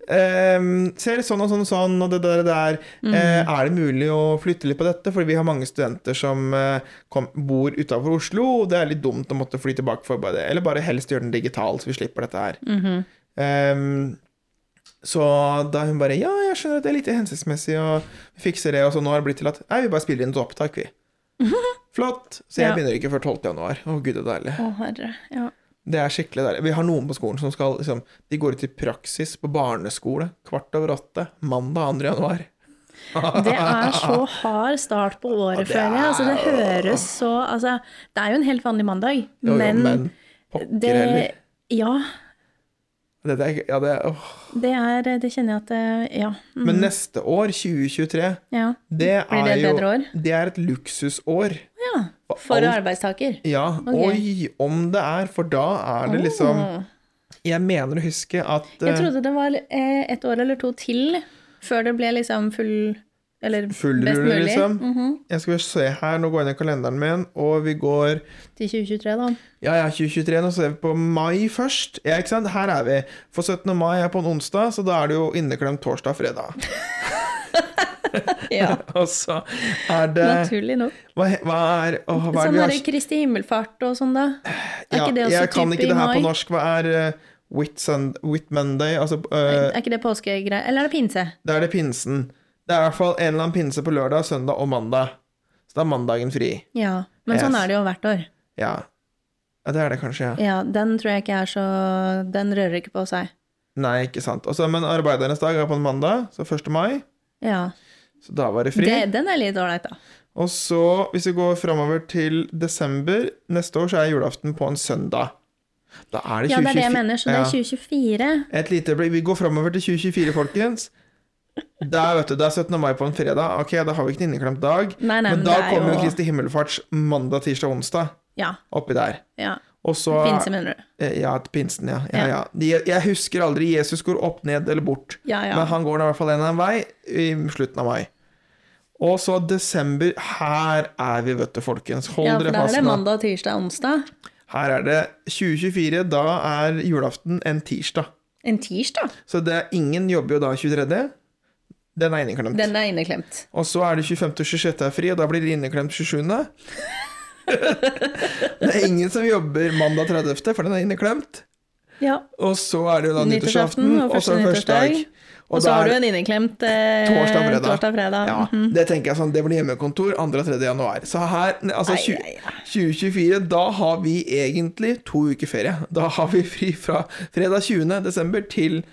Speaker 1: ehm, ser sånn og sånn og sånn og det der, og det der.
Speaker 2: Mm.
Speaker 1: Eh, er det mulig å flytte litt på dette? Fordi vi har mange studenter som eh, kom, bor utafor Oslo, og det er litt dumt å måtte fly tilbake for bare det. Eller bare helst gjøre den digital, så vi slipper dette her.
Speaker 2: Mhm.
Speaker 1: Ehm, så da hun bare Ja, jeg skjønner at det er lite hensiktsmessig, og vi fikser det, og så nå har det blitt til at Nei, vi bare spiller inn et opptak, vi. Flott. Så jeg
Speaker 2: Ja.
Speaker 1: begynner ikke før 12. januar. Å, gud, det er deilig.
Speaker 2: Å, herre. Ja.
Speaker 1: Det er skikkelig deilig. Vi har noen på skolen som skal liksom, De går ut i praksis på barneskole kvart over åtte mandag 2. januar.
Speaker 2: Det er så hard start på året,
Speaker 1: det
Speaker 2: føler jeg. Altså, det
Speaker 1: er-
Speaker 2: høres så altså, Det er jo en helt vanlig mandag,
Speaker 1: Jo, jo,
Speaker 2: men,
Speaker 1: men pokker
Speaker 2: det
Speaker 1: heller.
Speaker 2: Ja,
Speaker 1: Det, det, er- ja, det, er- åh.
Speaker 2: det er Det kjenner jeg at eh, Ja. mm,
Speaker 1: Men neste år, 2023,
Speaker 2: ja.
Speaker 1: det
Speaker 2: Blir
Speaker 1: er
Speaker 2: det et
Speaker 1: jo
Speaker 2: bedre år?
Speaker 1: Det er et luksusår.
Speaker 2: ja.
Speaker 1: Og
Speaker 2: For
Speaker 1: alt-
Speaker 2: arbeidstaker.
Speaker 1: Ja. Oi, om det er, for da er det liksom
Speaker 2: Åh.
Speaker 1: Jeg mener å huske at
Speaker 2: Oh. Jeg
Speaker 1: eh,
Speaker 2: trodde det var eh, et år eller to til før det ble liksom full Eller
Speaker 1: Full
Speaker 2: best
Speaker 1: rulle,
Speaker 2: mulig.
Speaker 1: liksom.
Speaker 2: Mhm.
Speaker 1: Jeg skal se her, nå går jeg inn i kalenderen min, og vi går
Speaker 2: Til 2023, da.
Speaker 1: Ja, jeg er 2023, nå ser vi på mai først. Ja, ikke sant? Her er vi. For 17. mai er på en onsdag, så da er det jo inneklemt torsdag og fredag.
Speaker 2: Ja,
Speaker 1: Og så er det
Speaker 2: naturlig nok.
Speaker 1: Hva, he- hva er åh, hva er det
Speaker 2: Sånn
Speaker 1: vi har
Speaker 2: derre Kristi himmelfart og sånn, da. Er
Speaker 1: ja,
Speaker 2: ikke det også
Speaker 1: Jeg kan
Speaker 2: type
Speaker 1: ikke
Speaker 2: i
Speaker 1: det her på
Speaker 2: mai?
Speaker 1: norsk. Hva er uh, Whit, Sun- Whit Monday? Altså, eh,
Speaker 2: Er ikke det påskegreier? Eller er det pinse?
Speaker 1: da er det pinsen. Det er i hvert fall en eller annen pinse på lørdag, søndag og mandag. Så da er mandagen fri.
Speaker 2: Ja. Men sånn
Speaker 1: Yes.
Speaker 2: er det jo hvert år.
Speaker 1: Ja. ja, det er det kanskje, ja.
Speaker 2: Ja, den tror jeg ikke er så Den rører ikke på seg.
Speaker 1: Nei, ikke sant. Og så- men arbeidernes dag er på en mandag, så 1. mai.
Speaker 2: Ja.
Speaker 1: Så da var det fri.
Speaker 2: Det, den er litt ålreit, da.
Speaker 1: Og så, hvis vi går framover til desember neste år, så er julaften på en søndag. Da er det 2024.
Speaker 2: Ja, det er det jeg mener, så det er 2024.
Speaker 1: Et lite øyeblikk. Vi går framover til 2024, folkens. Der, vet du, det er 17. mai på en fredag. Ok, da har vi ikke en inneklemt dag.
Speaker 2: Nei, nei,
Speaker 1: men
Speaker 2: men
Speaker 1: da
Speaker 2: det er
Speaker 1: kommer jo
Speaker 2: jo-
Speaker 1: Kristi himmelfarts mandag, tirsdag, onsdag
Speaker 2: Ja.
Speaker 1: oppi der.
Speaker 2: ja.
Speaker 1: Og så
Speaker 2: Pinse, mener du.
Speaker 1: Eh, Ja, til pinsen, ja. ja,
Speaker 2: Ja.
Speaker 1: ja. De, jeg husker aldri Jesus går opp, ned eller bort.
Speaker 2: Ja, ja.
Speaker 1: Men han går da i hvert fall en eller annen vei i slutten av mai. Og så desember. Her er vi, vet du, folkens. Hold
Speaker 2: Ja, for
Speaker 1: dere
Speaker 2: da er
Speaker 1: fast
Speaker 2: det
Speaker 1: nå.
Speaker 2: mandag, tirsdag, onsdag.
Speaker 1: Her er det 2024. Da er julaften en tirsdag.
Speaker 2: En tirsdag.
Speaker 1: Så det er ingen jobber jo da 23. Den er inneklemt.
Speaker 2: Den er inneklemt.
Speaker 1: Og så er det 25. og 26. er fri, og da blir det inneklemt 27. det er ingen som jobber mandag 30., for den er inneklemt.
Speaker 2: Ja.
Speaker 1: Og så er det jo da nyttårsaften, og så
Speaker 2: første
Speaker 1: førstedag.
Speaker 2: nyttårsdag.
Speaker 1: Og
Speaker 2: Og så
Speaker 1: da
Speaker 2: har
Speaker 1: er
Speaker 2: du en inneklemt eh,
Speaker 1: torsdag og fredag.
Speaker 2: torsdag og fredag.
Speaker 1: Ja,
Speaker 2: Mhm.
Speaker 1: det tenker jeg sånn, det blir hjemmekontor 2. og 3. januar. Så her, ne, altså
Speaker 2: Ai,
Speaker 1: 20,
Speaker 2: ai,
Speaker 1: 2024, da har vi egentlig to uker ferie. Da har vi fri fra fredag 20. desember til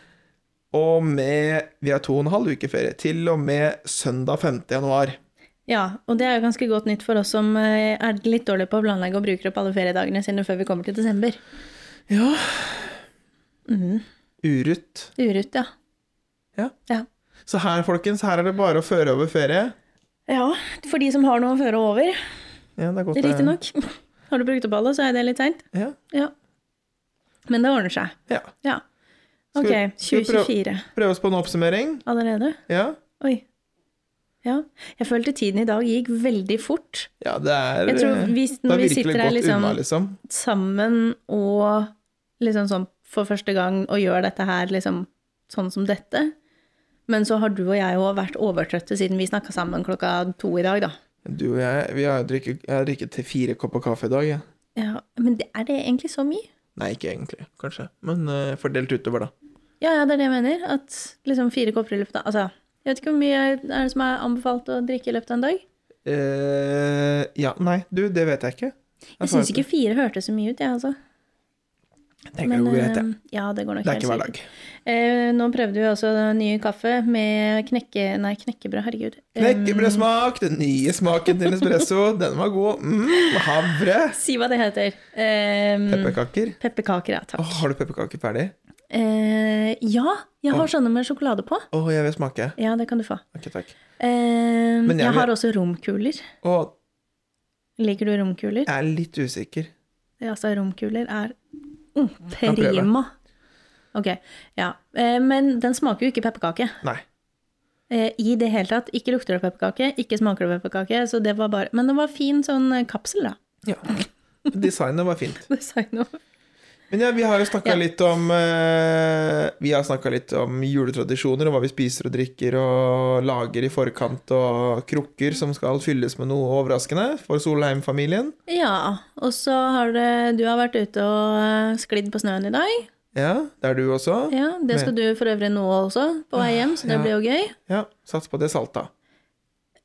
Speaker 1: og med Vi har to og en halv uke ferie. Til og med søndag 5. januar.
Speaker 2: ja, og det er jo ganske godt nytt for oss som eh, er litt dårlige på å planlegge og bruker opp alle feriedagene sine før vi kommer til desember. Mm,
Speaker 1: Ja Urutt.
Speaker 2: Urutt, ja.
Speaker 1: Ja.
Speaker 2: ja.
Speaker 1: Så her, folkens, her er det bare å føre over ferie.
Speaker 2: Ja, for de som har noe å føre over,
Speaker 1: Ja, det er godt eh.
Speaker 2: riktignok. Har du brukt opp alle, så er det litt seint.
Speaker 1: Ja.
Speaker 2: Ja. Men det ordner seg.
Speaker 1: ja.
Speaker 2: Ja.
Speaker 1: Skal
Speaker 2: Ok,
Speaker 1: vi- skal vi prøve-
Speaker 2: 2024
Speaker 1: Prøve oss på en oppsummering.
Speaker 2: allerede.
Speaker 1: Ja.
Speaker 2: Oi. Ja. Jeg følte tiden i dag gikk veldig fort.
Speaker 1: Ja, det er
Speaker 2: Jeg tror vi,
Speaker 1: Det
Speaker 2: når
Speaker 1: er
Speaker 2: vi
Speaker 1: virkelig
Speaker 2: sitter her
Speaker 1: godt
Speaker 2: liksom,
Speaker 1: unna, liksom.
Speaker 2: sammen og liksom sånn for første gang og gjør dette her liksom sånn som dette Men så har du og jeg òg vært overtrøtte siden vi snakka sammen klokka to i dag, da.
Speaker 1: Du og jeg, vi har drikket, jeg har drikket til fire kopper kaffe i dag. Ja.
Speaker 2: Ja, men det- er det egentlig så mye?
Speaker 1: Nei, ikke egentlig, kanskje. Men eh, fordelt utover, da.
Speaker 2: Ja, ja, det er det jeg mener. At liksom fire kopper i løpet av Altså, jeg vet ikke hvor mye er det som er anbefalt å drikke i løpet av en dag?
Speaker 1: Eh, ja, nei, du, det vet jeg ikke.
Speaker 2: Jeg syns ikke fire hørtes så mye ut, jeg, altså.
Speaker 1: Jeg tenker det går greit, jeg.
Speaker 2: eh, ja, det går nok
Speaker 1: Det er ikke hver
Speaker 2: helt
Speaker 1: dag.
Speaker 2: sikkert. Eh, nå prøvde vi også den nye kaffe med knekke... Nei, knekkebrød, herregud. Eh,
Speaker 1: Knekkebrødsmak, den nye smaken til espresso, den var god. Mm, havre.
Speaker 2: si hva det heter. Eh,
Speaker 1: Pepperkaker.
Speaker 2: Pepperkaker, ja. Takk.
Speaker 1: Å, har du pepperkaker ferdig?
Speaker 2: Eh, ja, jeg har sånne med sjokolade på.
Speaker 1: Å, jeg vil smake.
Speaker 2: Ja, det kan du få.
Speaker 1: Ok, takk.
Speaker 2: Eh,
Speaker 1: Men
Speaker 2: jeg,
Speaker 1: jeg vil-
Speaker 2: har også romkuler.
Speaker 1: Å,
Speaker 2: Liker du romkuler?
Speaker 1: jeg er litt usikker.
Speaker 2: Ja, altså, romkuler er mm,
Speaker 1: Kan prøve.
Speaker 2: prima. Ok, ja. Eh, men den smaker jo ikke pepperkake.
Speaker 1: Nei.
Speaker 2: Eh, I det hele tatt. Ikke lukter det pepperkake, ikke smaker det pepperkake. Så det var bare Men det var fin sånn eh, kapsel, da.
Speaker 1: Ja. Designet var fint.
Speaker 2: Designet.
Speaker 1: Men ja, vi har jo snakka
Speaker 2: Ja.
Speaker 1: litt om eh, Vi har snakket litt om juletradisjoner, og hva vi spiser og drikker og lager i forkant, og krukker som skal fylles med noe overraskende for Solheim-familien.
Speaker 2: Ja. Og så har det, du har vært ute og eh, sklidd på snøen i dag.
Speaker 1: Ja, det er du også. Ja.
Speaker 2: Ja, Det skal du for øvrig nå også, på vei hjem, så det
Speaker 1: Ja.
Speaker 2: blir jo gøy.
Speaker 1: Sats på det salta.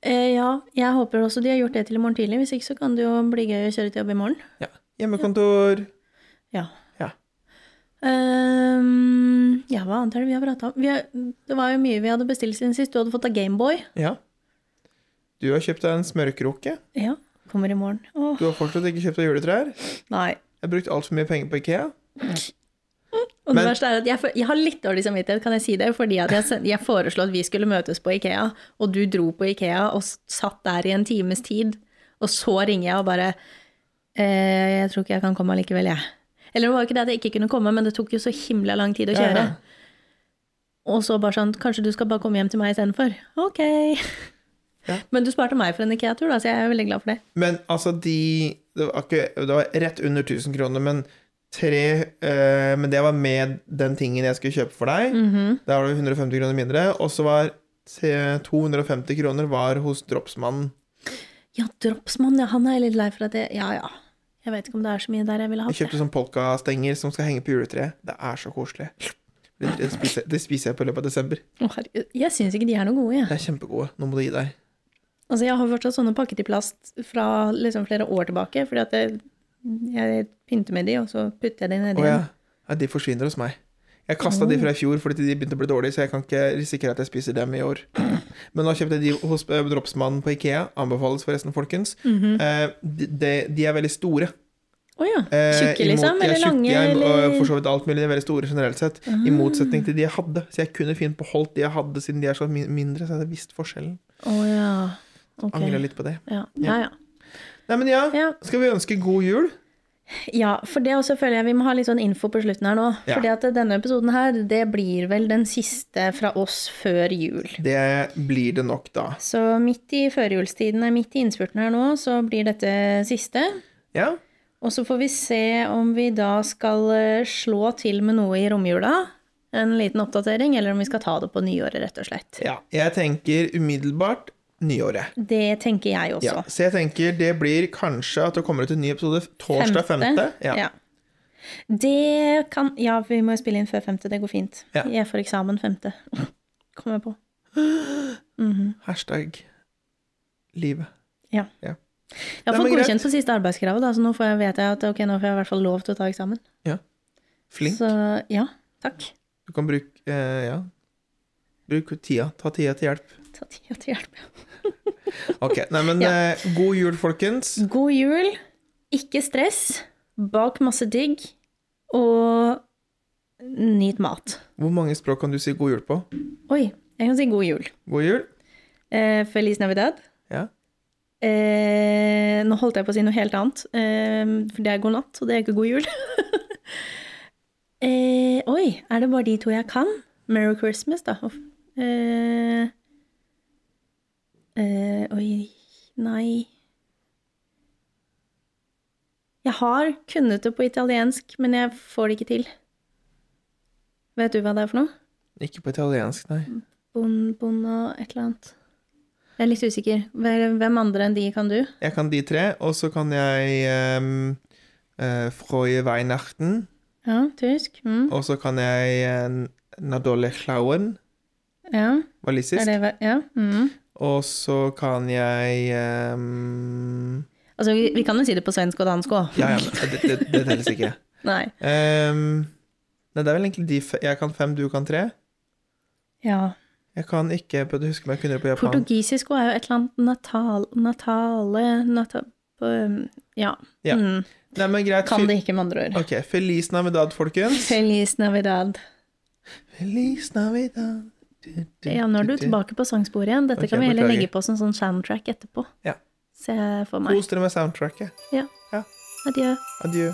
Speaker 2: Eh, ja, jeg håper også de har gjort det til i morgen tidlig. Hvis ikke så kan det jo bli gøy å kjøre til jobb i morgen.
Speaker 1: Ja. Hjemmekontor.
Speaker 2: Ja.
Speaker 1: Ja.
Speaker 2: Ehm, ja, hva annet er det vi har prata om? Vi har, det var jo mye vi hadde bestilt siden sist. Du hadde fått av Gameboy.
Speaker 1: ja. Du har kjøpt deg en smørkrukke.
Speaker 2: Ja. Kommer i morgen. Åh,
Speaker 1: Du har fortsatt ikke kjøpt deg juletrær.
Speaker 2: nei.
Speaker 1: Jeg har brukt altfor mye penger på Ikea.
Speaker 2: Og det
Speaker 1: Men-
Speaker 2: verste er at jeg, får- jeg har litt dårlig samvittighet, kan jeg si det, fordi at jeg, send- jeg foreslo at vi skulle møtes på Ikea, og du dro på Ikea og s- satt der i en times tid, og så ringer jeg og bare eh, Jeg tror ikke jeg kan komme allikevel, jeg. Eller det var jo ikke det at jeg ikke kunne komme, men det tok jo så himla lang tid å
Speaker 1: Ja, ja.
Speaker 2: kjøre. Og så bare sånn Kanskje du skal bare komme hjem til meg istedenfor? Ok.
Speaker 1: Ja.
Speaker 2: Men du sparte meg for en Ikea-tur, da, så jeg er veldig glad for det.
Speaker 1: Men altså, de Det var, ikke, det var rett under 1000 kroner, men tre eh, Men det var med den tingen jeg skulle kjøpe for deg. Der var det 150 kroner mindre. Og så var se, 250 kroner var hos dropsmannen.
Speaker 2: Ja, Dropsmann, ja, han er jeg litt lei for at jeg Ja ja. Jeg vet ikke om det er så mye der jeg ville hatt.
Speaker 1: Jeg kjøpte sånn polkastenger som skal henge på juletreet. Det er så koselig. Det, det, spiser, det spiser jeg på i løpet av desember.
Speaker 2: Å, herregud. Jeg syns ikke de er noe gode, jeg.
Speaker 1: Det er kjempegode. Nå må du gi deg.
Speaker 2: Altså, jeg har fortsatt sånne pakket i plast fra liksom flere år tilbake, fordi at jeg, jeg pynter med de, og så putter jeg de nedi
Speaker 1: Å ja.
Speaker 2: igjen.
Speaker 1: ja. De forsvinner hos meg. Jeg kasta de fra i fjor fordi de begynte å bli dårlige, så jeg kan ikke risikere at jeg spiser dem i år. Men nå kjøpte jeg de hos eh,
Speaker 2: Mhm.
Speaker 1: dropsmannen på Ikea. Anbefales forresten, folkens. Eh, de, de, de er veldig store.
Speaker 2: Å Å ja.
Speaker 1: Eh,
Speaker 2: Tjukke, liksom?
Speaker 1: imot- ja,
Speaker 2: Eller lange?
Speaker 1: tjukke,
Speaker 2: Eller Ah.
Speaker 1: Og for så vidt alt mulig. De er veldig store generelt sett. I motsetning til de jeg hadde. Så jeg kunne fint beholdt de jeg hadde, siden de er så min mindre. Så jeg hadde visst forskjellen.
Speaker 2: Å ja. Ok.
Speaker 1: Angrer litt på det.
Speaker 2: Ja, ja. ja.
Speaker 1: Nei, men ja.
Speaker 2: Ja.
Speaker 1: Skal vi ønske god jul?
Speaker 2: Ja, for det også føler jeg vi må ha litt sånn info på slutten her nå.
Speaker 1: Ja.
Speaker 2: Fordi at denne episoden her, det blir vel den siste fra oss før jul.
Speaker 1: Det blir det nok, da.
Speaker 2: Så midt i førjulstiden, nei, midt i innspurten her nå, så blir dette siste.
Speaker 1: Ja.
Speaker 2: Og så får vi se om vi da skal eh, slå til med noe i romjula. En liten oppdatering, eller om vi skal ta det på nyåret, rett og slett.
Speaker 1: ja. Jeg tenker umiddelbart nyåret.
Speaker 2: Det tenker jeg også.
Speaker 1: Ja. Så jeg tenker det blir kanskje at det kommer ut en ny episode torsdag 5. Ja.
Speaker 2: Ja. Det kan Ja, vi må jo spille inn før femte. Det går fint.
Speaker 1: Ja.
Speaker 2: Jeg får eksamen femte. Kommer jeg på.
Speaker 1: Hashtag livet.
Speaker 2: Ja.
Speaker 1: Ja.
Speaker 2: Jeg har
Speaker 1: Nei,
Speaker 2: fått
Speaker 1: men greit.
Speaker 2: godkjent på siste arbeidskravet, da, så nå får jeg, vet jeg at ok, nå får jeg i hvert fall lov til å ta eksamen.
Speaker 1: Flink.
Speaker 2: Så ja, takk.
Speaker 1: Du kan bruke eh, Ja. Bruk tida. Ta tida til hjelp.
Speaker 2: Ta tida til hjelp.
Speaker 1: Ok. Nei, men
Speaker 2: Ja.
Speaker 1: eh, god jul, folkens.
Speaker 2: God jul, ikke stress, bak masse digg, og nyt mat.
Speaker 1: Hvor mange språk kan du si god jul på?
Speaker 2: Oi, jeg kan si god jul.
Speaker 1: God jul?
Speaker 2: Eh, Feliz Navidad.
Speaker 1: Ja.
Speaker 2: Eh, nå holdt jeg på å si noe helt annet, eh, for det er god natt, og det er ikke god jul. eh, oi, er det bare de to jeg kan? Merry Christmas, da. Uff. Eh, eh, oi, nei Jeg har kunnet det på italiensk, men jeg får det ikke til. Vet du hva det er for noe?
Speaker 1: Ikke på italiensk, nei.
Speaker 2: Bon, bona, et eller annet. Jeg er litt usikker. Hvem hvem andre enn de kan du?
Speaker 1: Jeg kan de tre, og så kan jeg um, uh, Freue Weihnachten.
Speaker 2: Ja, tysk. Mm.
Speaker 1: Og så kan jeg eh, Nadolle Klauen,
Speaker 2: Ja, er
Speaker 1: walisisk.
Speaker 2: det hva- ja. Mm.
Speaker 1: Og så kan jeg ehm,
Speaker 2: Altså, vi, vi kan jo si det på svensk og dansk òg.
Speaker 1: Ja, ja, men det, det, det telles ikke.
Speaker 2: Nei.
Speaker 1: Ehm, nei, det er vel egentlig de fe Jeg kan fem, du kan tre.
Speaker 2: Ja.
Speaker 1: Jeg kan ikke prøvde å huske om jeg kunne det på japan.
Speaker 2: Portugisisk også er jo et eller annet natal, natale nata, på- um, Ja.
Speaker 1: Ja.
Speaker 2: Mm.
Speaker 1: Nei, men greit.
Speaker 2: Kan
Speaker 1: fe-
Speaker 2: det ikke, med andre ord.
Speaker 1: Ok, Feliz Navidad, folkens.
Speaker 2: Feliz Navidad.
Speaker 1: Feliz Navidad. Du, du,
Speaker 2: Ja, nå er du
Speaker 1: du, du.
Speaker 2: tilbake på sangsporet igjen. Dette
Speaker 1: Ok,
Speaker 2: kan vi heller
Speaker 1: beklager.
Speaker 2: legge på som sånn soundtrack etterpå.
Speaker 1: Ja.
Speaker 2: Se for meg.
Speaker 1: Kos dere med soundtracket.
Speaker 2: Ja.
Speaker 1: Ja.
Speaker 2: Adjø.
Speaker 1: Adjø.